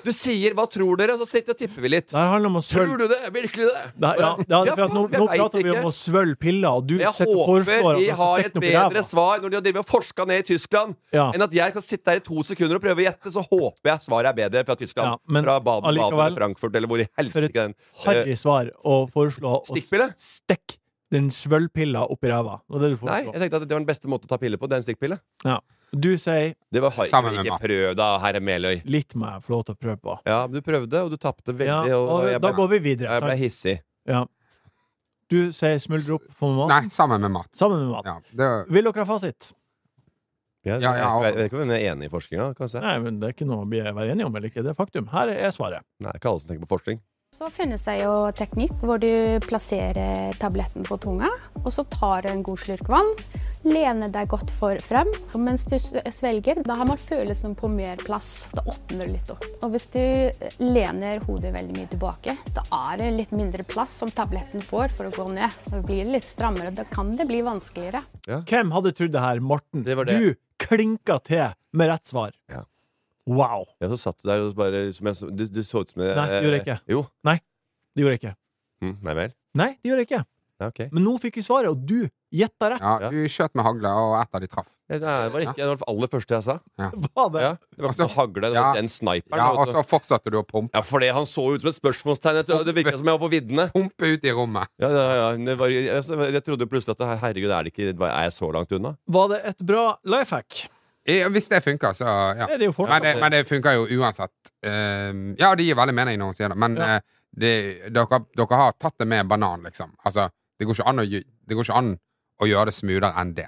Speaker 2: Du sier 'hva tror dere', og så sitter og tipper vi litt.
Speaker 1: Det her handler om å
Speaker 2: Tror
Speaker 1: svølge
Speaker 2: du det? Virkelig det?
Speaker 1: det, her- ja, det er for at nå,
Speaker 2: Jeg
Speaker 1: nå
Speaker 2: vet
Speaker 1: prater vi
Speaker 2: ikke.
Speaker 1: om å svølge piller, og du
Speaker 2: Jeg
Speaker 1: sitter og foreslår
Speaker 2: håper
Speaker 1: at
Speaker 2: de
Speaker 1: man skal
Speaker 2: har et
Speaker 1: stikke den opp i
Speaker 2: bedre
Speaker 1: ræva.
Speaker 2: svar når de har drevet og forska ned i Tyskland,
Speaker 1: Ja.
Speaker 2: enn at jeg skal sitte her i to sekunder og prøve å gjette. Så håper jeg svaret er bedre fra Tyskland.
Speaker 1: Ja, men
Speaker 2: fra Baden, Baden
Speaker 1: allikevel-
Speaker 2: eller Frankfurt eller hvor i
Speaker 1: For et
Speaker 2: helsike den eh,
Speaker 1: Harry svar å foreslå å
Speaker 2: Stikkpille?
Speaker 1: stikke den svølgpilla opp i ræva. Det var det du
Speaker 2: Nei,
Speaker 1: foreslo.
Speaker 2: jeg tenkte at det var den beste måten å ta piller på. Det er en stikkpille.
Speaker 1: Ja. Du sier
Speaker 2: Det var harry.
Speaker 3: Sammen med
Speaker 2: Ikke
Speaker 3: mat.
Speaker 2: prøv, da, herre Meløy.
Speaker 1: litt må jeg få lov til å prøve på.
Speaker 2: Ja, men du prøvde, og du tapte
Speaker 1: Ja,
Speaker 2: veldig. og,
Speaker 1: og
Speaker 2: jeg
Speaker 1: da
Speaker 2: ble,
Speaker 1: går vi videre.
Speaker 2: jeg ble
Speaker 1: sant?
Speaker 2: hissig.
Speaker 1: Ja. Du sier smuldre opp for mat.
Speaker 3: Nei, sammen med mat.
Speaker 1: Sammen med mat.
Speaker 3: Ja, det,
Speaker 1: Vil dere ha fasit?
Speaker 2: Ja,
Speaker 3: Ja, ja, og-
Speaker 2: jeg, jeg vet ikke om hun er enig i forskninga. kan jeg si.
Speaker 1: Nei, men det er ikke noe å bli- være enige om eller ikke. Det er faktum. Her er svaret.
Speaker 2: Nei, ikke alle som tenker på forskning.
Speaker 6: Så finnes det jo teknikk hvor du plasserer tabletten på tunga, og så tar du en god slurk vann, Lene deg godt for frem. Og mens du s- svelger, da har man følelsen på mer plass. Da åpner det litt opp. Og hvis du lener hodet veldig mye tilbake, da er det litt mindre plass som tabletten får for å gå ned. Da blir det litt strammere, da kan det bli vanskeligere.
Speaker 1: Hvem hadde trodd det her, Morten?
Speaker 2: Det var det.
Speaker 1: Du klinka til med rett svar.
Speaker 2: Ja.
Speaker 1: Wow.
Speaker 2: Ja, så satt du der og så bare som jeg, så- du, du så ut som jeg,
Speaker 1: Nei, det gjorde jeg ikke.
Speaker 2: Jo.
Speaker 1: Det gjorde jeg ikke.
Speaker 2: Mm, nei vel.
Speaker 1: Nei, det gjorde jeg ikke.
Speaker 2: Ja, ok.
Speaker 1: Men nå fikk vi svaret, og du gjetta rett.
Speaker 3: Ja, du skjøt med hagla, og ett av de traff.
Speaker 2: Det, det var ikke det var det aller første jeg sa.
Speaker 1: Var det?
Speaker 2: Ja, det var ikke noe hagle, det
Speaker 3: Altså, Ja.
Speaker 2: var den sniperen.
Speaker 3: Ja, altså-
Speaker 2: vet
Speaker 3: og
Speaker 2: du.
Speaker 3: så fortsatte du å pumpe,
Speaker 2: Ja, for det, han så ut som et spørsmålstegn. Jeg tror- Det virka som jeg var på viddene.
Speaker 3: pumpe ut i rommet.
Speaker 2: Ja, ja, ja. Det var, jeg, jeg trodde plutselig at det her- herregud, er, det ikke, er jeg så langt unna?
Speaker 1: Var det et bra life hack?
Speaker 3: Ja, Hvis det funker, så ja.
Speaker 1: Det er det jo
Speaker 3: Men
Speaker 1: fortsatt.
Speaker 3: det, men det funker jo uansett. Ehm, ja, det gir veldig mening når hun sier det, men
Speaker 1: Ja.
Speaker 3: eh, det, dere, dere har tatt det med en banan, liksom. Altså, det går ikke an å, gj- det går ikke an å gjøre det smoothere enn det.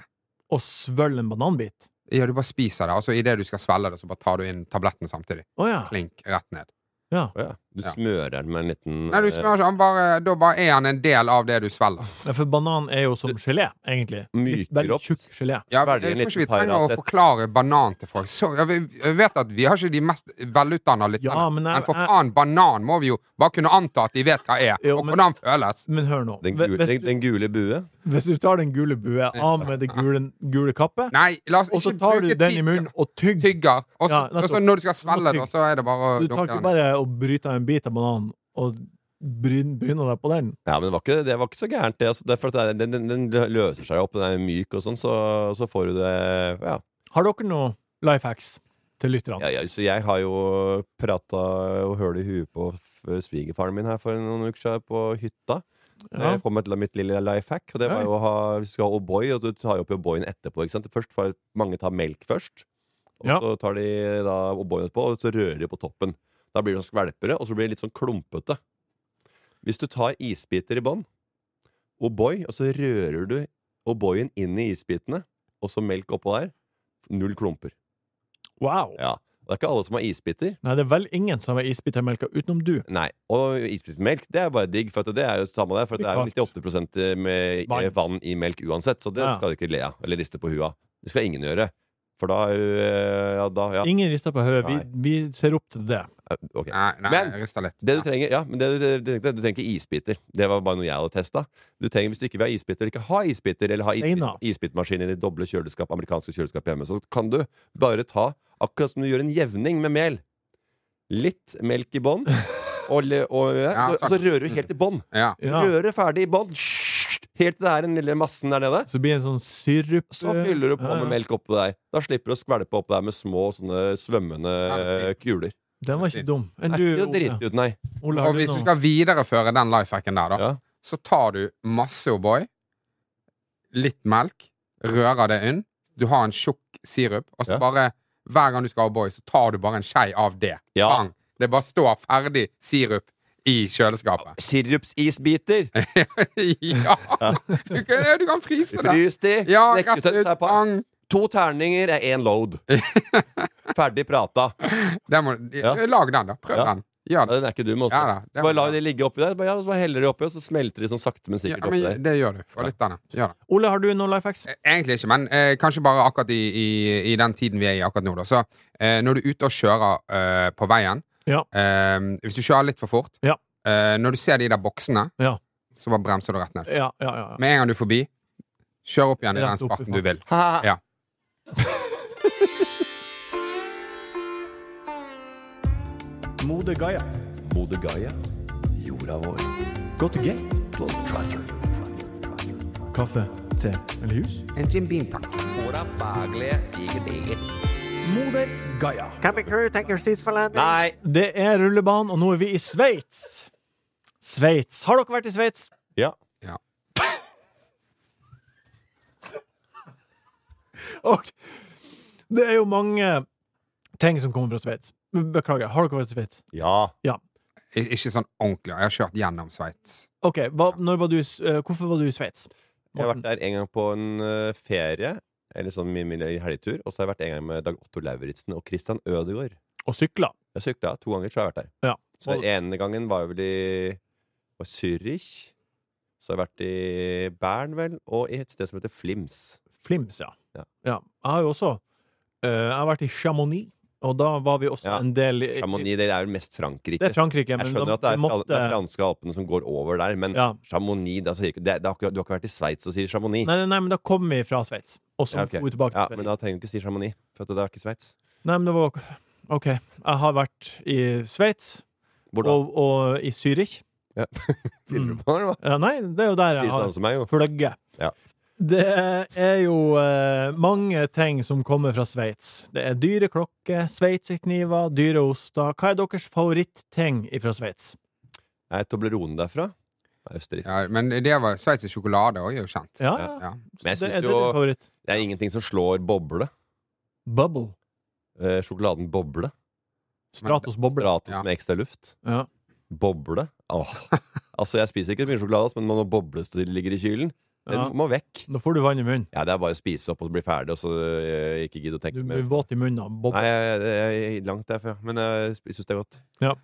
Speaker 1: Å svølge en bananbit.
Speaker 3: Ja, du bare spiser det, og så idet du skal svelge det, så bare tar du inn tabletten samtidig.
Speaker 1: Å ja.
Speaker 3: Klink, rett ned.
Speaker 2: Å ja. Du
Speaker 3: Ja.
Speaker 2: smører den med en liten eh,
Speaker 3: Nei, du smører ikke, han bare, da bare er han en del av det du svelger.
Speaker 1: Nei, For banan er jo som gelé, egentlig. Litt
Speaker 2: Myker
Speaker 1: veldig
Speaker 2: opp.
Speaker 1: tjukk gelé.
Speaker 3: Ja,
Speaker 2: Svelger
Speaker 3: jeg
Speaker 2: en
Speaker 3: tror ikke vi
Speaker 2: liten
Speaker 3: trenger å
Speaker 2: Paracet.
Speaker 3: forklare banan til folk. Så, jeg, vet- jeg vet at vi har ikke de mest velutdanna lytterne,
Speaker 1: Ja, men eh,
Speaker 3: men,
Speaker 1: jeg-
Speaker 3: for
Speaker 1: jeg-
Speaker 3: faen, banan må vi jo bare kunne anta at de vet hva er,
Speaker 1: Jo,
Speaker 3: og
Speaker 1: men-
Speaker 3: hvordan føles.
Speaker 1: Men hør nå.
Speaker 2: Den
Speaker 1: Hvis
Speaker 2: gule, den,
Speaker 1: du,
Speaker 2: den gule bue?
Speaker 1: hvis du tar den gule bue av med det gule, gule kappet,
Speaker 3: Nei, la oss
Speaker 1: og så
Speaker 3: ikke
Speaker 1: tar du
Speaker 3: bruke
Speaker 1: den i
Speaker 3: tid-
Speaker 1: munnen og tygger
Speaker 3: Tygger. Og så-
Speaker 1: Ja,
Speaker 3: og så
Speaker 1: nettopp.
Speaker 3: når du skal
Speaker 1: Du må
Speaker 3: svelge det,
Speaker 1: tygge.
Speaker 3: så er det bare å
Speaker 1: Du tar
Speaker 3: dunke
Speaker 1: ikke
Speaker 3: den.
Speaker 1: bare og bryter en bit av bananen og bryn- bryner deg på den.
Speaker 2: Ja, men det var ikke, det var ikke så gærent, det. Altså, det er for at det er- den, den, den løser seg opp, den er myk og sånn, så, så får du det Ja.
Speaker 1: Har dere noe life hacks til lytterne?
Speaker 2: ja, ja så jeg har jo prata og høl i huet på f- svigerfaren min her for noen uker siden, på hytta.
Speaker 1: Ja.
Speaker 2: Jeg kom med til mitt lille life hack, og det var
Speaker 1: Ja.
Speaker 2: jo å ha, hvis du skal ha O'boy, og du tar jo opp O'boyen etterpå. Ikke sant? Først, får- mange tar melk først, og
Speaker 1: Ja.
Speaker 2: så tar de da O'boyen etterpå, og så rører de på toppen. Da blir det sånn skvelpere, og så blir det litt sånn klumpete. Hvis du tar isbiter i bånn, O'boy, og så rører du O'boyen inn i isbitene, og så melk oppå der, null klumper.
Speaker 1: Wow!
Speaker 2: Ja. Og det er ikke alle som har isbiter.
Speaker 1: Nei, det er vel ingen som har isbitermelka utenom du.
Speaker 2: Nei, og isbitmelk det er bare digg, for at det er jo samme der, for at det er jo 98 med
Speaker 1: Vann.
Speaker 2: vann. vann i melk uansett, så det
Speaker 1: Ja.
Speaker 2: skal du ikke le av, eller riste på hua. Det skal ingen gjøre. For da, øh, ja, da ja.
Speaker 1: Ingen rister på hodet. Vi,
Speaker 2: Nei.
Speaker 1: vi ser opp til det.
Speaker 2: Ok.
Speaker 3: Nei, nei,
Speaker 2: Men-
Speaker 3: jeg rister litt.
Speaker 2: Det du trenger, ja, men det, du- du tenkte- du trenger ikke isbiter. Det var bare noe jeg hadde testa. Du trenger, hvis du ikke vil ha isbiter, eller ikke har isbiter, eller har
Speaker 1: Steina.
Speaker 2: isbit- isbitmaskin i ditt doble kjøleskap, amerikanske kjøleskap hjemme, så kan du bare ta, akkurat som du gjør en jevning med mel, litt melk
Speaker 1: (laughs)
Speaker 2: i bånn, og, le- og,
Speaker 3: Ja,
Speaker 2: så,
Speaker 3: takk.
Speaker 2: så rører du helt i bånn.
Speaker 3: Ja.
Speaker 1: Ja.
Speaker 2: Røre ferdig i bånn. Helt til det er den lille massen der nede.
Speaker 1: Så blir det en sånn eh, sirup
Speaker 2: Så fyller du på
Speaker 1: Ja, ja.
Speaker 2: med melk oppå deg. Da slipper du å skvelpe oppå deg med små sånne svømmende eh, kuler.
Speaker 1: Den var ikke dum. Enn
Speaker 2: Det
Speaker 1: du,
Speaker 2: er ikke å
Speaker 1: Ole?
Speaker 2: drite ut, nei.
Speaker 1: Ole,
Speaker 3: Og
Speaker 1: har du
Speaker 3: hvis du
Speaker 1: noe?
Speaker 3: skal videreføre den life hacken der, da,
Speaker 2: Ja.
Speaker 3: så tar du masse O'boy, litt melk, rører det inn, du har en tjukk sirup, og
Speaker 2: Ja.
Speaker 3: så bare hver gang du skal ha O'boy, så tar du bare en skei av det.
Speaker 2: Ja.
Speaker 3: Bang. Det bare står ferdig sirup i
Speaker 2: (laughs)
Speaker 3: kjøleskapet.
Speaker 2: Sirupsisbiter.
Speaker 3: ja! Du kan, du kan fryse det.
Speaker 2: Frys de.
Speaker 3: Ja,
Speaker 2: Snekk
Speaker 3: rett
Speaker 2: ut et
Speaker 3: ut.
Speaker 2: par.
Speaker 3: Bang.
Speaker 2: To terninger er én load.
Speaker 3: (laughs)
Speaker 2: Ferdig prata.
Speaker 3: Det må,
Speaker 2: Ja.
Speaker 3: Lag den, da. Prøv
Speaker 2: Ja.
Speaker 3: den. Gjør
Speaker 2: Ja,
Speaker 3: det.
Speaker 2: den er ikke dum, også.
Speaker 3: Ja da, det
Speaker 2: så bare
Speaker 3: var
Speaker 2: la
Speaker 3: bra.
Speaker 2: de ligge oppi der, bare, ja, så bare heller de oppi, og så smelter de sånn sakte, men
Speaker 3: Ja,
Speaker 2: sikkert oppi
Speaker 3: men
Speaker 2: der.
Speaker 3: det gjør du. For lytterne. Gjør det.
Speaker 1: Ole, har du noe life hacks?
Speaker 3: Eh, Egentlig ikke, men eh, kanskje bare akkurat i, i, i den tiden vi er i akkurat nå. Da. Så eh, når du er ute og kjører eh, på veien,
Speaker 1: Ja.
Speaker 3: eh, hvis du kjører litt for fort,
Speaker 1: Ja.
Speaker 3: eh, når du ser de der boksene,
Speaker 1: Ja.
Speaker 3: så bare bremser du rett ned.
Speaker 1: Ja, ja, ja. ja.
Speaker 3: Med en gang du er forbi, kjør opp igjen i
Speaker 1: Rett
Speaker 3: den
Speaker 1: opp i
Speaker 3: sparten du
Speaker 1: farten.
Speaker 3: vil.
Speaker 2: Ha-ha. (laughs)
Speaker 3: Ja.
Speaker 1: Mode Gaia.
Speaker 2: Moder Gaia, jorda vår.
Speaker 1: Go to gate. Kaffe, te eller jus?
Speaker 3: En Jim Beam, takk.
Speaker 1: Moder Gaia.
Speaker 2: Nei!
Speaker 1: Det er rullebanen, og nå er vi i Sveits. Sveits. Har dere vært i Sveits?
Speaker 2: Ja.
Speaker 3: Ja.
Speaker 1: Og det er jo mange ting som kommer fra Sveits. Beklager. Har dere vært i Sveits?
Speaker 2: ja.
Speaker 3: I- Ikke sånn ordentlig. Jeg har kjørt gjennom Sveits.
Speaker 1: OK, hva, når var du, i S- eh, hvorfor var du i Sveits?
Speaker 2: Jeg har
Speaker 1: Morten?
Speaker 2: vært der en gang på en ø, ferie, eller sånn min, min helgetur, og så har jeg vært en gang med Dag Otto Lauritzen og Christian Ødegaard.
Speaker 1: Og sykla.
Speaker 2: Jeg sykla to ganger, så har jeg vært der.
Speaker 1: Ja.
Speaker 2: Så
Speaker 1: Og-
Speaker 2: den ene gangen var jeg vel i var Zürich. Så har jeg vært i Bern, vel, og i et sted som heter Flims.
Speaker 1: Flims, ja.
Speaker 2: Ja.
Speaker 1: Jeg har jo også eh, Jeg har vært i Chamonix, og da var vi også
Speaker 2: Ja.
Speaker 1: en del i,
Speaker 2: Chamonix, det er jo mest Frankrike.
Speaker 1: Det er Frankrike, men
Speaker 2: jeg skjønner
Speaker 1: da
Speaker 2: at det er, fra-
Speaker 1: måtte
Speaker 2: det er franske alpene som går over der, men
Speaker 1: Ja.
Speaker 2: Chamonix det, er altså ikke- det, det har ikke, Du har ikke vært i Sveits og sier Chamonix?
Speaker 1: Nei, nei, nei, men da kom vi fra Sveits. Og så
Speaker 2: Ja, ok.
Speaker 1: dro vi tilbake
Speaker 2: Ja,
Speaker 1: til Sveits.
Speaker 2: men da trenger du ikke si Chamonix, for at det er ikke Sveits.
Speaker 1: Nei, men det var OK. Jeg har vært i Sveits
Speaker 2: Hvor da? (laughs)
Speaker 1: og, og i Zürich.
Speaker 2: Ja. Fyller
Speaker 1: Mm.
Speaker 2: du på, eller hva?
Speaker 1: Ja, nei, det er jo der
Speaker 2: Sier
Speaker 1: jeg
Speaker 2: sånn
Speaker 1: har
Speaker 2: som meg, jo.
Speaker 1: fløgget.
Speaker 2: Ja.
Speaker 1: Det er jo eh, mange ting som kommer fra Sveits. Det er dyre klokker, sveitserkniver, dyre oster. Hva er deres favorittting fra Sveits?
Speaker 2: Er Toblerone derfra? Det er Østerrike.
Speaker 3: Ja, men det var sveitsisk sjokolade òg, er jo kjent.
Speaker 1: Ja,
Speaker 2: Ja.
Speaker 1: ja.
Speaker 3: Ja.
Speaker 2: Men jeg
Speaker 1: Det,
Speaker 2: syns
Speaker 1: er det
Speaker 2: jo
Speaker 1: din favoritt?
Speaker 2: det er ingenting som slår boble.
Speaker 1: Bubble.
Speaker 2: Eh, sjokoladen boble.
Speaker 1: Stratos boble.
Speaker 2: Stratos
Speaker 3: Ja.
Speaker 2: med ekstra luft.
Speaker 1: Ja.
Speaker 2: Boble. Åh. altså, jeg spiser ikke så mye sjokolade, men når boblestøt ligger i kylen, den
Speaker 1: Ja.
Speaker 2: må vekk.
Speaker 1: Da får du vann i munnen.
Speaker 2: Ja, det er bare å spise opp og så bli ferdig, og så eh, ikke gidde å
Speaker 1: Du
Speaker 2: tenke
Speaker 1: blir
Speaker 2: mer.
Speaker 1: våt i munnen av boble.
Speaker 2: Nei, jeg, jeg, jeg er langt derfra, men eh, jeg syns det er godt.
Speaker 3: Ja.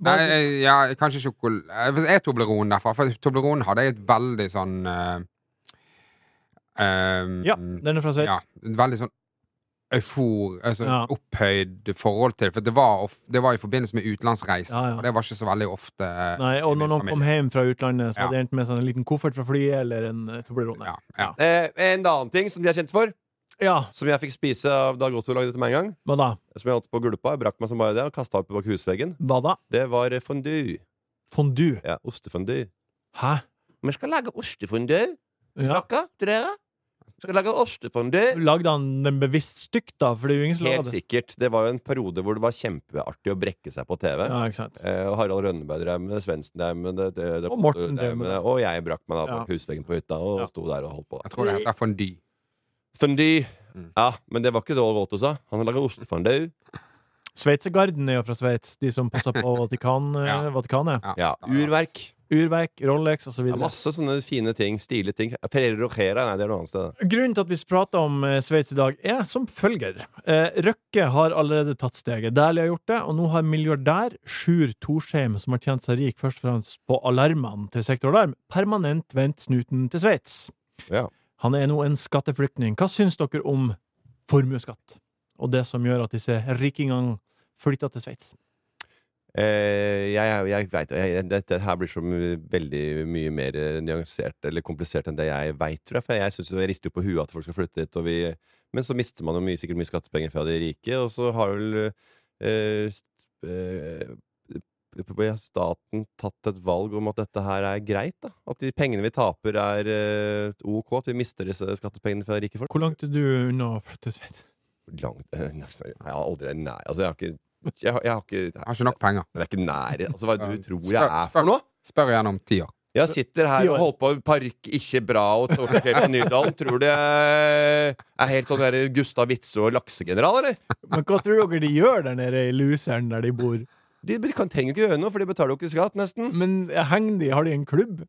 Speaker 3: Nei, jeg- ja, kanskje sjokolade Er Toblerone derfra? For Toblerone hadde et veldig sånn eh, eh,
Speaker 1: Ja, den er fra
Speaker 3: ja,
Speaker 1: Sveits.
Speaker 3: et veldig sånn eufor, altså
Speaker 1: Ja.
Speaker 3: opphøyd forhold til det. For det var, of, det var i forbindelse med utenlandsreiser,
Speaker 1: Ja, ja.
Speaker 3: og det var ikke så veldig ofte. eh,
Speaker 1: Nei, og når noen
Speaker 3: Familie.
Speaker 1: kom hjem fra utlandet, så
Speaker 3: Ja.
Speaker 1: hadde de enten med seg en liten koffert fra flyet eller en eh, Toblerone.
Speaker 3: Ja, ja.
Speaker 2: Eh, en annen ting som de er kjent for,
Speaker 1: Ja,
Speaker 2: som jeg fikk spise av Dag Otto lagde til meg en gang,
Speaker 1: hva da?
Speaker 2: som jeg holdt på å gulpe av, jeg brakk meg som bare det, og kasta opp bak husveggen,
Speaker 1: Hva da?
Speaker 2: det var eh, fondue.
Speaker 1: Fondue.
Speaker 2: Ja, ostefondue.
Speaker 1: Hæ?
Speaker 2: Vi skal lage ostefondue,
Speaker 1: Ja.
Speaker 2: dere, til dere. Vi skal lage ostefondue.
Speaker 1: Lagde han den bevisst stygt, da? For det er jo ingen som
Speaker 2: Helt
Speaker 1: lager det.
Speaker 2: sikkert. Det var jo en periode hvor det var kjempeartig å brekke seg på TV.
Speaker 1: Ja, ikke sant.
Speaker 2: Eh, og Harald Rønneberg drev med det, Svendsen drev med det, det, det
Speaker 1: Og Morten drev med det.
Speaker 2: Og jeg brakk meg da på
Speaker 1: Ja.
Speaker 2: husveggen på hytta og
Speaker 1: Ja.
Speaker 2: sto der og holdt på.
Speaker 3: Jeg tror det heter fondue.
Speaker 2: Fondue.
Speaker 3: Mm.
Speaker 2: Ja, men det var ikke det Åge Otto sa. Han lager ostefondue.
Speaker 1: Sveitsergarden er jo fra Sveits, de som passer på Vatikan, eh,
Speaker 3: Ja.
Speaker 1: Vatikanet.
Speaker 2: Ja, Urverk.
Speaker 1: Urverk, Rolex osv.
Speaker 2: Ja, masse sånne fine ting. Stilige ting. Ferrero Rochera, nei, det er noe annet sted.
Speaker 1: Grunnen til at vi prater om eh, Sveits i dag, er som følger. Eh, Røkke har allerede tatt steget. Dæhlie har gjort det, og nå har milliardær Sjur Torsheim, som har tjent seg rik først og fremst på alarmene til Sektor Alarm, permanent vendt snuten til Sveits.
Speaker 2: Ja.
Speaker 1: Han er nå en skatteflyktning. Hva syns dere om formuesskatt, og det som gjør at disse rikingene flytter til Sveits?
Speaker 2: Eh, jeg jeg veit jeg- Dette her blir så my- veldig mye mer eh, nyansert eller komplisert enn det jeg veit, tror jeg. For jeg synes jo- jeg rister jo på huet at folk skal flytte hit, og vi Men så mister man jo mye, sikkert mye skattepenger fra de rike, og så har vel eh, st- eh, har staten tatt et valg om at dette her er greit, da? At de pengene vi taper, er eh, ok? At vi mister disse skattepengene fra rike folk?
Speaker 1: Hvor langt er du unna å flytte til Sveits?
Speaker 2: Langt eh, Jeg har aldri Nei, altså, jeg har ikke Jeg, har- jeg har ikke
Speaker 3: Har ikke nok penger.
Speaker 2: det er ikke nær Altså, hva du
Speaker 3: Ja.
Speaker 2: tror
Speaker 3: Spør-
Speaker 2: jeg er
Speaker 3: spør-
Speaker 2: for noe?
Speaker 3: Spør igjen om ti år.
Speaker 2: Jeg sitter her
Speaker 1: Ti
Speaker 2: og
Speaker 1: år.
Speaker 2: holder på med parykk ikke bra og Torkjell Nydalen. Tror du jeg er helt sånn der Gustav Witzøe og laksegeneral, eller?
Speaker 1: Men hva tror dere de gjør der nede i luseren der de bor?
Speaker 2: De be- kan, trenger jo ikke gjøre noe, for de betaler jo ikke skatt, nesten.
Speaker 1: Men henger de? Har de en klubb?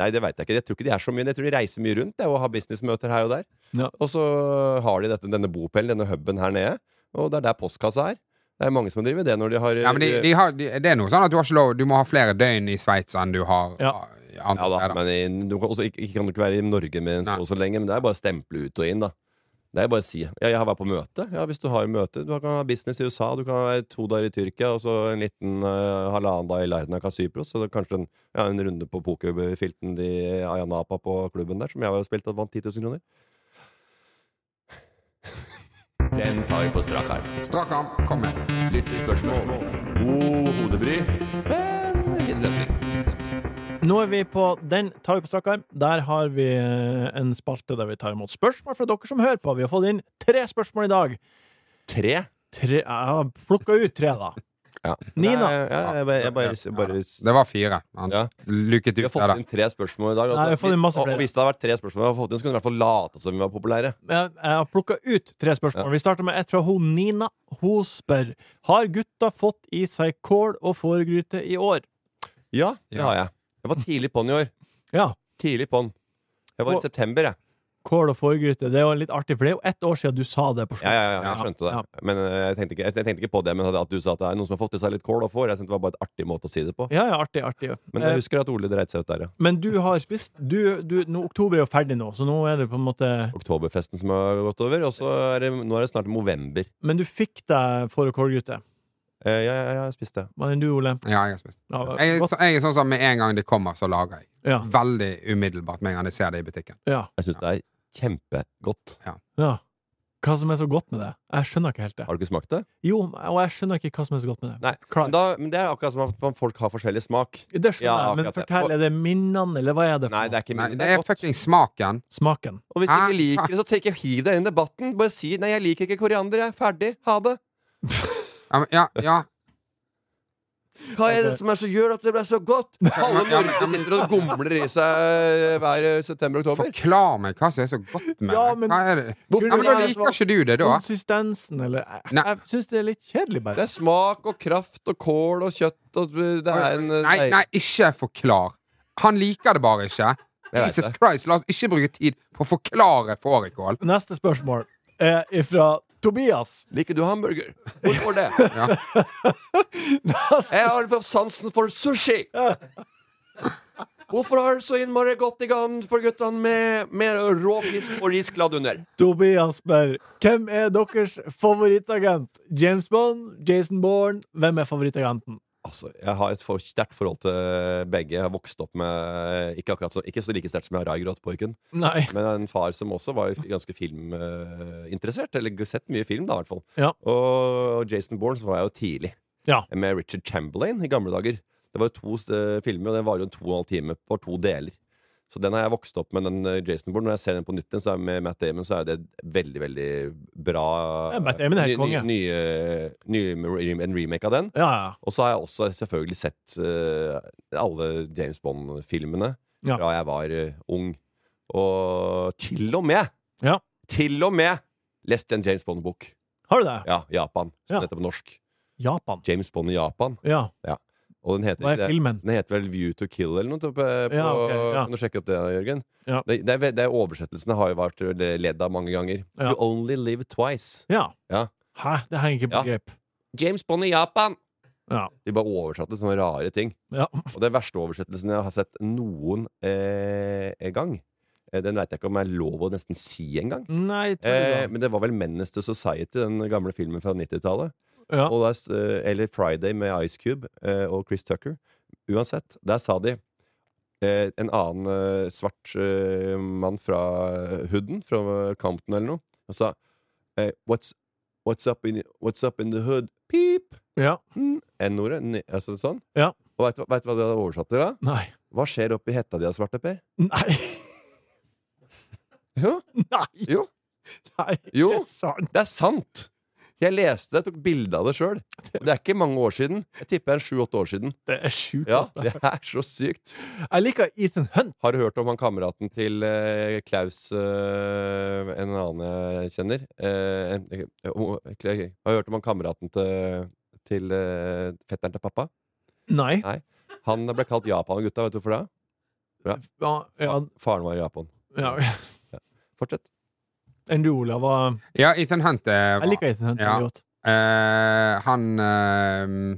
Speaker 2: Nei, det veit jeg ikke. Jeg tror ikke de er så mye. Jeg tror de reiser mye rundt jeg, og har businessmøter her og der.
Speaker 1: Ja.
Speaker 2: Og så har de dette, denne bopelen, denne huben her nede, og det er der postkassa er. Det er mange som driver det når de har
Speaker 3: Ja, men de, de har, de, det er noe sånn at du har ikke lov Du må ha flere døgn i Sveits enn du har
Speaker 1: Ja.
Speaker 3: i andre
Speaker 2: Ja da,
Speaker 3: steder.
Speaker 2: men i, du kan, også, ikke, ikke kan du ikke være i Norge med en så
Speaker 3: Nei.
Speaker 2: og så lenge, men det er bare å stemple ut og inn, da. Det er bare å si. Ja, jeg har vært på møte. Ja, hvis du har møte. Du kan ha business i USA, du kan ha to dager i Tyrkia, og så en liten eh, halvannen dag i Larnaca, Cypros, og kanskje en, ja, en runde på pokerfilten i Ayanapa på klubben der, som jeg har spilt og vant 10 000 kroner. Den tar vi på strak arm.
Speaker 3: Strak arm, kom med.
Speaker 2: Lyttespørsmål. God hodebry, men ingen løsning.
Speaker 1: Nå er vi på den tar vi på strak arm. Der har vi eh, en spalte der vi tar imot spørsmål fra dere som hører på. Vi har fått inn tre spørsmål i dag.
Speaker 2: Tre.
Speaker 1: Tre, jeg har plukka ut tre, da. Nina.
Speaker 2: Nei, ja, jeg, bare- jeg bare, jeg bare
Speaker 3: Det var fire. Han
Speaker 2: Ja.
Speaker 3: luket
Speaker 2: Vi har
Speaker 3: ut
Speaker 2: fått
Speaker 3: der, da.
Speaker 2: inn tre spørsmål i dag. altså.
Speaker 1: Nei, vi har fått inn masse
Speaker 2: og,
Speaker 1: flere.
Speaker 2: og hvis det hadde vært tre spørsmål, vi hadde fått inn, så kunne vi i hvert fall late som vi var populære.
Speaker 1: Jeg, jeg har plukka ut tre spørsmål. Vi starter med et fra hun Nina. Hun spør Har gutta fått i seg kål og fåregryte i år.
Speaker 2: Ja, det
Speaker 3: Ja.
Speaker 2: har jeg. Jeg var tidlig på'n i år.
Speaker 1: Ja.
Speaker 2: Tidlig på'n. Jeg var
Speaker 1: Og-
Speaker 2: i september, jeg.
Speaker 1: kål og fårgryte. Det er jo litt artig, for det er jo ett år siden du sa det på
Speaker 2: Ja,
Speaker 1: slutten.
Speaker 2: ja, ja, jeg skjønte det.
Speaker 1: Ja.
Speaker 2: Men eh, jeg tenkte, ikke, jeg, jeg tenkte ikke på det, men at du sa at det er noen som har fått i seg litt kål og får. Jeg tenkte det var bare et artig måte å si det på.
Speaker 1: Ja, ja, artig, artig. Eh,
Speaker 2: Men jeg husker at Ole dreit seg ut der, ja.
Speaker 1: Men du har spist du, du, nå, Oktober er jo ferdig nå, så nå er det på en måte
Speaker 2: Oktoberfesten som har gått over, og så er det, nå er det snart november.
Speaker 1: Men du fikk deg får og kålgryte.
Speaker 2: Eh, ja, ja, ja, jeg spiste det.
Speaker 1: Hva enn du, Ole?
Speaker 3: Ja, jeg har spist.
Speaker 1: Ja,
Speaker 3: Jeg, er
Speaker 1: hva-
Speaker 3: så- jeg er sånn som med en gang det kommer, så lager jeg.
Speaker 1: ja,
Speaker 3: Veldig umiddelbart med en gang jeg ser det i butikken.
Speaker 1: ja,
Speaker 2: Jeg syns det er kjempegodt.
Speaker 1: ja. Hva som er så godt med det? Jeg skjønner ikke helt det.
Speaker 2: Har du ikke smakt det?
Speaker 1: Jo, og jeg skjønner ikke hva som er så godt med det.
Speaker 2: Nei.
Speaker 1: Klar.
Speaker 2: Men, da, men det er akkurat som at man- folk har forskjellig smak.
Speaker 1: Det skjønner
Speaker 2: Ja,
Speaker 1: jeg, men
Speaker 2: akkurat det.
Speaker 1: fortell, er det minnene, eller hva er det for
Speaker 2: Nei, det er ikke
Speaker 3: Nei,
Speaker 2: min.
Speaker 3: det er
Speaker 2: godt.
Speaker 3: fucking smaken.
Speaker 1: Smaken.
Speaker 2: Og hvis du
Speaker 3: Ah.
Speaker 2: ikke liker det, så tenk, hiv deg inn i debatten. Bare si 'nei, jeg liker ikke koriander', jeg er ferdig. Ha det.
Speaker 3: Ja, men- ja, ja.
Speaker 2: Hva er det som er så gjør at det ble så godt? Alle
Speaker 3: Altså- (laughs) Ja, men-
Speaker 2: Norge sitter og gomler i seg eh, hver september-oktober.
Speaker 3: Forklar meg hva som er så godt med
Speaker 1: Ja,
Speaker 3: det.
Speaker 1: men-
Speaker 3: Hva er det?
Speaker 1: Hvorfor-
Speaker 3: Ja, men da liker ikke du det, da.
Speaker 1: Konsistensen, eller Jeg,
Speaker 3: Nei.
Speaker 1: jeg syns det er litt kjedelig,
Speaker 2: Det
Speaker 1: bare.
Speaker 2: er smak og kraft og kål og kjøtt og eh, Det er en
Speaker 3: Nei, nei, ikke forklar. Han liker det bare
Speaker 2: Jeg
Speaker 3: ikke.
Speaker 2: vet
Speaker 3: Jesus
Speaker 2: det.
Speaker 3: Christ, la oss ikke bruke tid på å forklare fårikål.
Speaker 1: Neste spørsmål er fra Tobias. (laughs)
Speaker 2: Liker du
Speaker 3: (laughs)
Speaker 2: hamburger? Hvorfor det? Jeg har fått sansen for sushi! Hvorfor har du så innmari godt i gang for guttene med, med rå fisk og ris gladd under?
Speaker 1: Tobias spør Hvem er deres favorittagent? James Bond? Jason Bourne? Hvem er favorittagenten?
Speaker 2: Altså, Jeg har et for sterkt forhold til begge. Jeg har vokst opp med Ikke, akkurat så, ikke så like sterkt som jeg har Raigrat-pojken,
Speaker 1: Nei.
Speaker 2: men en far som også var ganske filminteressert. Eller sett mye film, da, i hvert fall.
Speaker 1: Ja.
Speaker 2: Og Jason Bourne så var jeg jo tidlig.
Speaker 1: Ja.
Speaker 2: Med Richard Chamberlain i gamle dager. Det var jo to eh, filmer, og den varer jo en to og en halv time. Var to deler. Så den har jeg vokst opp med. den eh, Jason Bourne Når jeg ser den på nytt igjen, så er med Matt Damon, så er det veldig, veldig bra.
Speaker 1: Ja, Matt Damon er helt
Speaker 2: ny,
Speaker 1: konge.
Speaker 2: ny, ny, ny, en remake av den.
Speaker 1: Ja,
Speaker 2: Og så har jeg også selvfølgelig sett eh, alle James Bond-filmene
Speaker 1: Ja.
Speaker 2: fra jeg var eh, ung. Og til og med
Speaker 1: Ja.
Speaker 2: Til og med leste en James Bond-bok.
Speaker 1: Har du det?
Speaker 2: Ja, Japan. Som
Speaker 1: Ja.
Speaker 2: heter på norsk.
Speaker 1: Japan.
Speaker 2: James Bond i Japan.
Speaker 1: Ja.
Speaker 2: Og den heter,
Speaker 1: Hva er
Speaker 2: det-
Speaker 1: filmen?
Speaker 2: den heter vel View to Kill eller noe. På, på,
Speaker 1: Ja, ok, ja.
Speaker 2: Kan du sjekke opp det, Jørgen?
Speaker 1: Ja.
Speaker 2: Det, det, er ve- det er Oversettelsene har jo vært eh, ledd av mange ganger.
Speaker 1: Ja.
Speaker 2: You only live twice.
Speaker 1: Ja.
Speaker 2: Ja.
Speaker 1: Hæ? Det henger ikke på
Speaker 2: Ja.
Speaker 1: grep.
Speaker 2: James Bond i Japan!
Speaker 1: Ja.
Speaker 2: De bare oversatte sånne rare ting.
Speaker 1: Ja.
Speaker 2: Og den verste oversettelsen jeg har sett noen eh, gang, eh, den veit jeg ikke om jeg er lov å nesten si engang.
Speaker 1: Nei,
Speaker 2: Eh,
Speaker 1: tror du det?
Speaker 2: men det var vel 'Menace to Society', den gamle filmen fra 90-tallet.
Speaker 1: Ja.
Speaker 2: Og der s- eh, Eller 'Friday' med Ice Cube eh, og Chris Tucker. Uansett, der sa de eh, en annen eh, svart eh, mann fra Hooden, fra Compton eller noe, og sa eh, what's, what's, up in, 'What's up in the hood?' Pip!
Speaker 1: ja.
Speaker 2: Mm, N-ordet. ni- Altså sånn.
Speaker 1: Ja.
Speaker 2: Og veit du hva de hadde oversatt til da?
Speaker 1: Nei.
Speaker 2: Hva skjer oppi hetta di, svarte Per?
Speaker 1: Nei. (laughs)
Speaker 2: Jo,
Speaker 1: Nei.
Speaker 2: jo,
Speaker 1: Nei.
Speaker 2: jo,
Speaker 1: Det er sant.
Speaker 2: det er sant! Jeg leste det, tok bilde av det sjøl. Det er ikke mange år siden. Jeg tipper det er sju-åtte år siden.
Speaker 1: Det er sjukt.
Speaker 2: Ja,
Speaker 1: ass.
Speaker 2: Det er så sykt.
Speaker 1: Jeg liker Ethan Hunt.
Speaker 2: Har du hørt om han kameraten til eh, Klaus eh, En annen jeg kjenner? Eh, en- eh, ho- Kla- har du hørt om han kameraten til, til eh, fetteren til pappa?
Speaker 1: Nei.
Speaker 2: Han ble kalt Japan-gutta, vet du hvorfor det?
Speaker 1: Ja, ja,
Speaker 2: Faren var i Japan.
Speaker 1: ja.
Speaker 2: Fortsett.
Speaker 1: Enn du, Olav? hva-
Speaker 3: Ja, Ethan Hunt eh,
Speaker 1: Jeg liker Ethan Hunt
Speaker 3: Ja.
Speaker 1: veldig godt.
Speaker 3: eh, Han eh,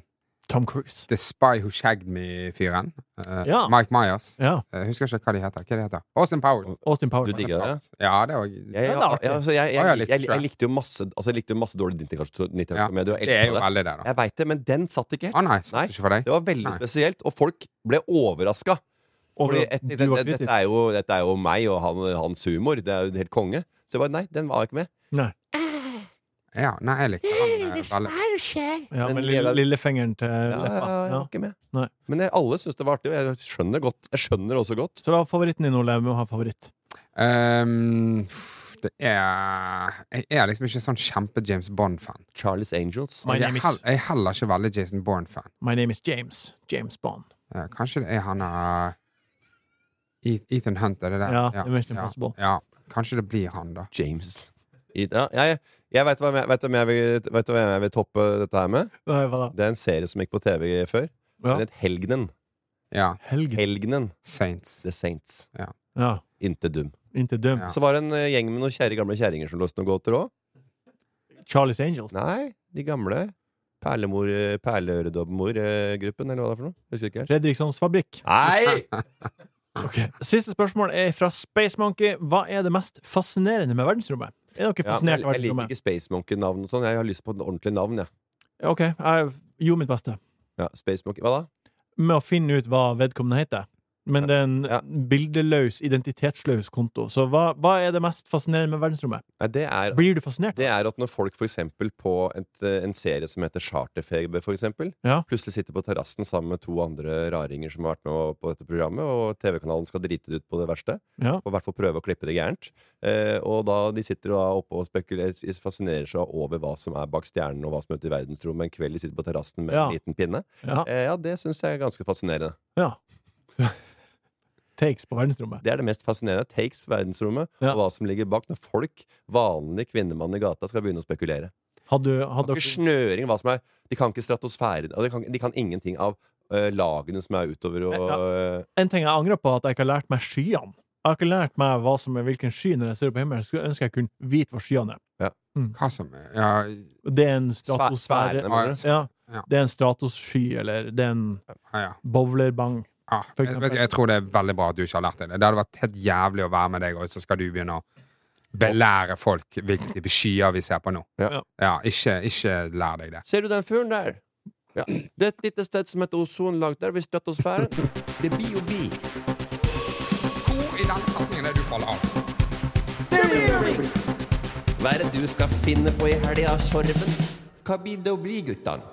Speaker 1: Tom Cruise.
Speaker 3: The Spy Who Shagged Me-fyren. Eh,
Speaker 1: Ja.
Speaker 3: Mike Myers.
Speaker 1: Ja.
Speaker 3: Eh, husker ikke hva de heter. Hva de heter. Austin Powers.
Speaker 1: Austin
Speaker 2: Du
Speaker 1: Powers.
Speaker 2: digger det?
Speaker 3: Ja, det var
Speaker 2: Jeg,
Speaker 1: Ja,
Speaker 2: jeg,
Speaker 1: det er artig.
Speaker 2: ja, altså, jeg, jeg,
Speaker 3: Ja, ja,
Speaker 2: jeg,
Speaker 3: litt
Speaker 2: jeg,
Speaker 3: svært.
Speaker 2: likte jo masse Altså, jeg likte jo masse dårlig 90-tallskomedie.
Speaker 3: Ja,
Speaker 2: og jeg
Speaker 3: Det er jo
Speaker 2: elsket det.
Speaker 3: veldig det, da.
Speaker 2: Jeg veit det, men den satt ikke
Speaker 3: Å
Speaker 2: helt.
Speaker 3: nei, satt
Speaker 2: Nei.
Speaker 3: ikke for deg.
Speaker 2: Det var veldig
Speaker 3: Nei.
Speaker 2: spesielt, og folk ble overraska.
Speaker 1: Over
Speaker 2: Fordi
Speaker 1: at
Speaker 2: et,
Speaker 1: du
Speaker 2: dette,
Speaker 1: var
Speaker 2: dette,
Speaker 1: kritisk.
Speaker 2: er jo, dette er jo meg og han, hans humor. Det er jo helt konge. Så jeg bare nei, den var ikke med.
Speaker 3: Ja, nei, jeg likte han eh, veldig.
Speaker 1: Ja,
Speaker 2: Men
Speaker 1: med
Speaker 2: lille-
Speaker 1: lille, lillefingeren til
Speaker 2: Ja, ja,
Speaker 1: leppa.
Speaker 2: ja, jeg
Speaker 1: Ja.
Speaker 2: var ikke med.
Speaker 1: Nei.
Speaker 2: Men jeg, alle syns det var artig, og jeg skjønner godt. Jeg skjønner også godt.
Speaker 1: Så hva er favoritten din, Ole? Hvem har favoritt?
Speaker 3: Ehm, pff, det er Jeg er liksom ikke sånn kjempe-James Bond-fan.
Speaker 2: Charlies Angels.
Speaker 1: My
Speaker 3: Jeg er
Speaker 1: name is-
Speaker 3: hell- jeg er heller ikke veldig Jason Bourne-fan.
Speaker 1: My name is James. James Bond.
Speaker 3: Eh, Kanskje det er han eh, Eth- Ethan Hunt, er det det?
Speaker 1: Ja, det er Mission
Speaker 3: ja,
Speaker 1: Impossible.
Speaker 3: ja. Kanskje det blir han, da.
Speaker 2: James. I, ja, jeg jeg veit hva, jeg- vet du hvem jeg vil- vet du hvem jeg vil toppe dette her med.
Speaker 1: Nei, hva da?
Speaker 2: Det er en serie som gikk på TV før.
Speaker 1: Ja.
Speaker 2: Den het Helgenen.
Speaker 3: Ja.
Speaker 1: Helgen.
Speaker 2: Helgenen
Speaker 3: Saints.
Speaker 2: The Saints.
Speaker 1: Ja.
Speaker 2: Inte dum.
Speaker 1: Inte dømt.
Speaker 3: Ja.
Speaker 2: Så var det en eh, gjeng med noen kjære gamle kjerringer som løste noen gåter òg.
Speaker 1: Charlie's Angels.
Speaker 2: Nei, de gamle. Perlemor, eh, Perleøredobbemor-gruppen, eller hva det er for noe. Husker ikke helt.
Speaker 1: Fredrikssons fabrikk.
Speaker 2: (laughs) Nei!
Speaker 1: Ok. Siste spørsmål er fra Space Monkey. Hva er det mest fascinerende med verdensrommet? Er dere
Speaker 2: Ja, men
Speaker 1: fascinert
Speaker 2: jeg,
Speaker 1: av
Speaker 2: jeg liker
Speaker 1: verdensrommet?
Speaker 2: ikke Space Monkey-navn og sånn. Jeg har lyst på et ordentlig navn, jeg.
Speaker 1: Ja, Ok, jeg gjorde mitt beste
Speaker 2: Ja. Space Monkey. Hva da?
Speaker 1: med å finne ut hva vedkommende heter. Men det er en
Speaker 2: Ja.
Speaker 1: bildeløs, identitetsløs konto. Så hva, hva er det mest fascinerende med verdensrommet?
Speaker 2: Nei, det er
Speaker 1: Blir du fascinert?
Speaker 2: det er at når folk for eksempel på et, eh, en serie som heter Charterfeber, for eksempel,
Speaker 1: Ja.
Speaker 2: plutselig sitter på terrassen sammen med to andre raringer som har vært med på dette programmet, og TV-kanalen skal drite det ut på det verste,
Speaker 1: Ja.
Speaker 2: og i hvert fall prøve å klippe det gærent. Eh, og da de sitter da oppe og spekulerer, fascinerer seg over hva som er bak stjernen, og hva som er ute i verdensrommet, en kveld de sitter på terrassen med
Speaker 1: Ja.
Speaker 2: en liten pinne.
Speaker 1: Ja.
Speaker 2: Eh, ja, det syns jeg er ganske fascinerende.
Speaker 1: ja. Takes på verdensrommet.
Speaker 2: Det er det mest fascinerende. Takes på verdensrommet,
Speaker 1: Ja.
Speaker 2: og hva som ligger bak når folk, vanlige kvinnemann i gata, skal begynne å spekulere.
Speaker 1: Hadde,
Speaker 2: De
Speaker 1: hadde
Speaker 2: har ikke
Speaker 1: dere
Speaker 2: snøring hva som er De kan ikke stratosfæren og de, kan- de kan ingenting av eh, lagene som er utover og eh,
Speaker 1: En ting jeg angrer på, er at jeg ikke har lært meg skyene. Jeg har ikke lært meg hva som er hvilken sky når jeg ser opp på himmelen. Jeg Skulle ønske jeg kunne vite hvor skyene er.
Speaker 3: Hva som er ja,
Speaker 1: Det er en
Speaker 2: sfæ-
Speaker 1: stratosfære.
Speaker 2: sfærene, mener du?
Speaker 1: Ja.
Speaker 3: Ja.
Speaker 1: Det er en stratossky, eller det er en
Speaker 3: ja, ja.
Speaker 1: bowlerbang.
Speaker 3: Ja,
Speaker 1: For
Speaker 3: jeg,
Speaker 1: eksempel.
Speaker 3: vet- jeg tror det er veldig bra at du ikke har lært deg det. Det hadde vært helt jævlig å være med deg, og så skal du begynne å belære folk hvilke type skyer vi ser på nå.
Speaker 2: Ja.
Speaker 3: Ja, ikke, ikke lær deg det.
Speaker 2: Ser du den fyren der? Ja. Det er et lite sted som heter ozonlag. Der ved stratosfæren. Det blir jo bi.
Speaker 3: Hvor i den setningen er det du faller av?
Speaker 2: Hva er det du skal finne på i helga, Sorven? Hva blir det å bli, guttan?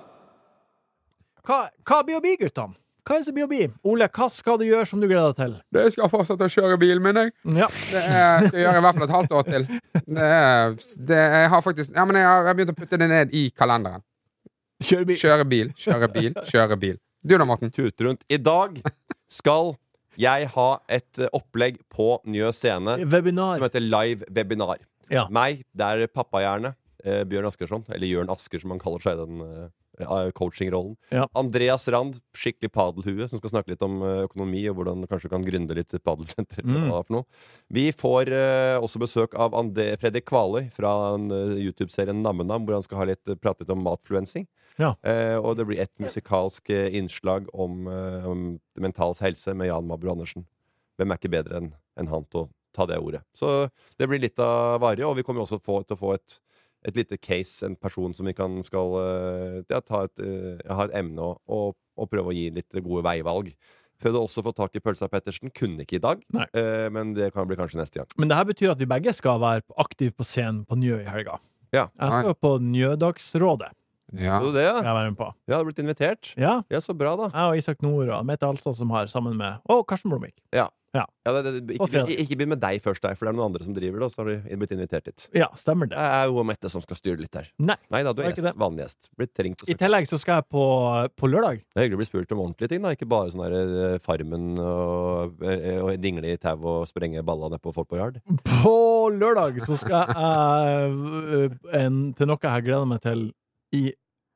Speaker 1: Hva, hva blir å bli, guttene? Hva er det som blir å bli? Ole, hva skal du gjøre som du gleder deg til?
Speaker 3: Det skal jeg fortsette å kjøre bilen min, jeg.
Speaker 1: Ja.
Speaker 3: Det er, skal jeg gjøre i hvert fall et halvt år til. Det er, det, jeg har faktisk ja, men jeg har, jeg har begynt å putte det ned i kalenderen.
Speaker 1: Kjøre bil.
Speaker 3: Kjøre bil, kjøre bil, kjøre bil. Du da, Morten?
Speaker 2: Tute rundt. I dag skal jeg ha et eh, opplegg på Njø scene som
Speaker 1: Eh, Webinar.
Speaker 2: heter Live Webinar.
Speaker 1: Ja.
Speaker 2: Meg, det er pappahjerne. Eh, Bjørn Askersson. Eller Jørn Asker, som han kaller seg i den eh, coachingrollen.
Speaker 1: Ja.
Speaker 2: Andreas Rand, skikkelig padelhue, som skal snakke litt om eh, økonomi og hvordan du kanskje kan gründe litt padelsenter. eller
Speaker 1: Mm.
Speaker 2: hva det er for noe. Vi får eh, også besøk av Ande Fredrik Kvaløy fra en, eh, YouTube-serien Nammenam, hvor han skal ha litt, eh, prate litt om matfluensing.
Speaker 1: Ja.
Speaker 2: Eh, og det blir et musikalsk eh, innslag om, eh, om mental helse med Jan Mabro Andersen. Hvem er ikke bedre enn enn han til å ta det ordet? Så det blir litt av varige, og vi kommer også få, til å få et, et lite case, en person som vi kan skal eh, ja, ta et, eh, ha et emne og, og, og prøve å gi litt gode veivalg. Prøvde også å få tak i Pølsa Pettersen. Kunne ikke i dag,
Speaker 1: Nei.
Speaker 2: eh, men det kan bli kanskje neste gang.
Speaker 1: Men det her betyr at vi begge skal være aktive på scenen på Njø i helga.
Speaker 2: Ja.
Speaker 1: Jeg skal jo på Njødagsrådet.
Speaker 3: Ja.
Speaker 2: Så det, ja.
Speaker 1: Skal jeg være med på.
Speaker 2: Jeg hadde blitt invitert.
Speaker 1: Ja.
Speaker 2: Ja, så bra, da.
Speaker 1: Jeg og Isak Nord og Mette Alstad som har sammen med Og Karsten Blomvik.
Speaker 2: Ja, det, det,
Speaker 1: Og
Speaker 2: ikke,
Speaker 1: fredag.
Speaker 2: ikke begynn med deg først, deg, for det er noen andre som driver det. Og så har du blitt invitert dit.
Speaker 1: Ja, stemmer
Speaker 2: Det
Speaker 1: det.
Speaker 2: er jo Mette som skal styre litt der.
Speaker 1: Nei.
Speaker 2: Nei da, du er
Speaker 1: Det er ikke
Speaker 2: gjest. Vanlig gjest. Blitt ringt og
Speaker 1: I
Speaker 2: spurt.
Speaker 1: tillegg så skal jeg på, på lørdag.
Speaker 2: Det er hyggelig å bli spurt om ordentlige ting, da. Ikke bare sånn der eh, Farmen og, eh, og dingle i tau og sprenge balla nedpå folk på Yard.
Speaker 1: På lørdag så skal jeg eh, en, til noe jeg gleder meg til i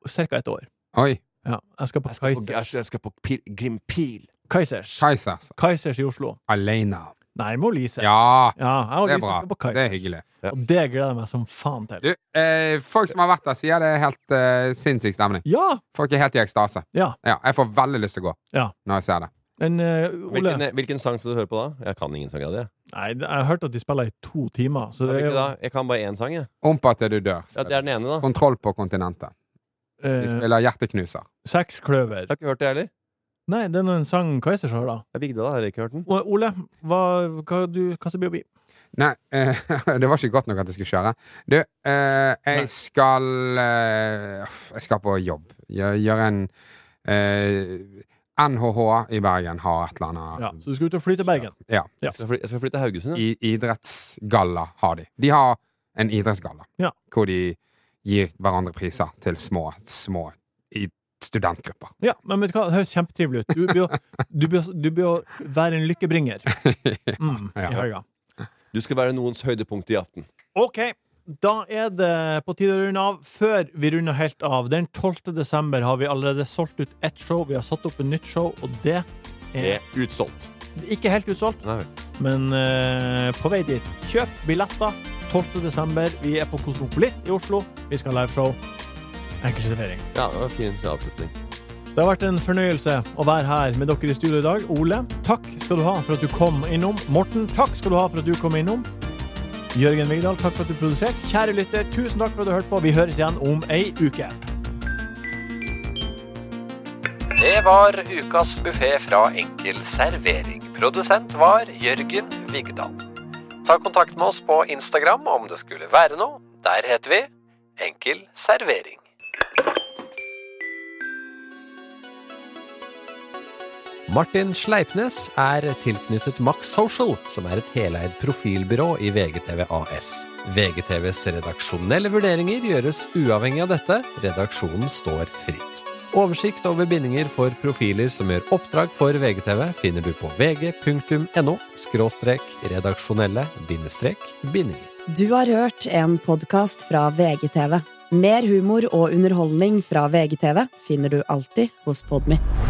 Speaker 1: ca. et år.
Speaker 3: Oi.
Speaker 1: Ja, jeg skal på Kaisers.
Speaker 2: jeg skal på pil, Grimpil.
Speaker 1: Kaisers.
Speaker 3: Kaisers.
Speaker 1: Kaisers i Oslo.
Speaker 3: Alene.
Speaker 1: Nei, må Lise. Ja,
Speaker 3: Ja,
Speaker 1: jeg og
Speaker 3: det er
Speaker 1: Lise
Speaker 3: bra.
Speaker 1: skal på
Speaker 3: Det
Speaker 1: Kaisers.
Speaker 3: er hyggelig.
Speaker 1: Og det gleder jeg meg som faen til.
Speaker 3: Du, eh, folk som har vært der, sier det er helt eh, sinnssyk stemning.
Speaker 1: Ja!
Speaker 3: Folk er helt i ekstase.
Speaker 1: Ja.
Speaker 3: jeg får veldig lyst til å gå
Speaker 1: Ja.
Speaker 3: når jeg ser det.
Speaker 1: En, eh, Ole
Speaker 2: Hvilken, hvilken sang skal du høre på da? Jeg kan ingen sang av det.
Speaker 1: Nei, det- jeg hørte at de spiller i to timer. Så
Speaker 2: Jeg,
Speaker 1: det er
Speaker 2: ikke
Speaker 1: jo
Speaker 2: da. jeg kan bare én sang, jeg.
Speaker 3: Ompa til du dør.
Speaker 2: Ja, det er den ene, da.
Speaker 3: Kontroll på kontinentet. De
Speaker 1: eh,
Speaker 3: spiller Hjerteknuser.
Speaker 1: Seks kløver.
Speaker 2: Jeg har ikke hørt det, jeg heller.
Speaker 1: Nei, det er nå en sang Kaizers har, da.
Speaker 2: Jeg Vigda, da. Har jeg ikke hørt den?
Speaker 1: Og Ole, hva, hva, du, hva skal det bli å bli?
Speaker 3: Nei, eh, (laughs) det var ikke godt nok at jeg skulle kjøre. Du, eh,
Speaker 1: Nei.
Speaker 3: jeg skal eh, uff, Jeg skal på jobb. Gjøre gjør en eh, NHH i Bergen har et eller annet
Speaker 1: Ja, så du skal ut og fly til Bergen?
Speaker 3: Ja.
Speaker 2: Jeg skal fly- jeg skal flytte til Haugesund, jeg.
Speaker 3: I, idrettsgalla har de. De har en idrettsgalla
Speaker 1: Ja.
Speaker 3: hvor de gir hverandre priser til små, små i studentgrupper.
Speaker 1: Ja, men vet du hva, det høres kjempetrivelig ut. Du blir å- Du blir å- du blir å være en lykkebringer mm, i
Speaker 3: Ja.
Speaker 1: helga.
Speaker 2: Du skal være noens høydepunkt i aften.
Speaker 1: OK. Da er det på tide å runde av. Før vi runder helt av, den 12. desember har vi allerede solgt ut ett show. Vi har satt opp et nytt show, og det er
Speaker 2: Det er utsolgt.
Speaker 1: ikke helt utsolgt.
Speaker 2: Nei vel.
Speaker 1: men eh, på vei dit. Kjøp billetter 12. desember. Vi er på Kosmopolit i Oslo. Vi skal ha liveshow. Enkel servering.
Speaker 2: Ja, det var en fin avslutning.
Speaker 1: Det har vært en fornøyelse å være her med dere i studio i dag. Ole, takk skal du ha for at du kom innom. Morten, takk skal du ha for at du kom innom. Jørgen Vigdal, takk for at du produserte. Kjære lytter, tusen takk for at du hørte på. Vi høres igjen om ei uke.
Speaker 7: Det var ukas buffé fra Enkel servering. Produsent var Jørgen Vigdal. Ta kontakt med oss på Instagram om det skulle være noe. Der heter vi Enkel servering. Martin Sleipnes er tilknyttet Max Social, som er et heleid profilbyrå i VGTV AS. VGTVs redaksjonelle vurderinger gjøres uavhengig av dette. Redaksjonen står fritt. Oversikt over bindinger for profiler som gjør oppdrag for VGTV, finner du på vg.no – redaksjonelle – bindinger.
Speaker 8: Du har hørt en podkast fra VGTV. Mer humor og underholdning fra VGTV finner du alltid hos Podmy.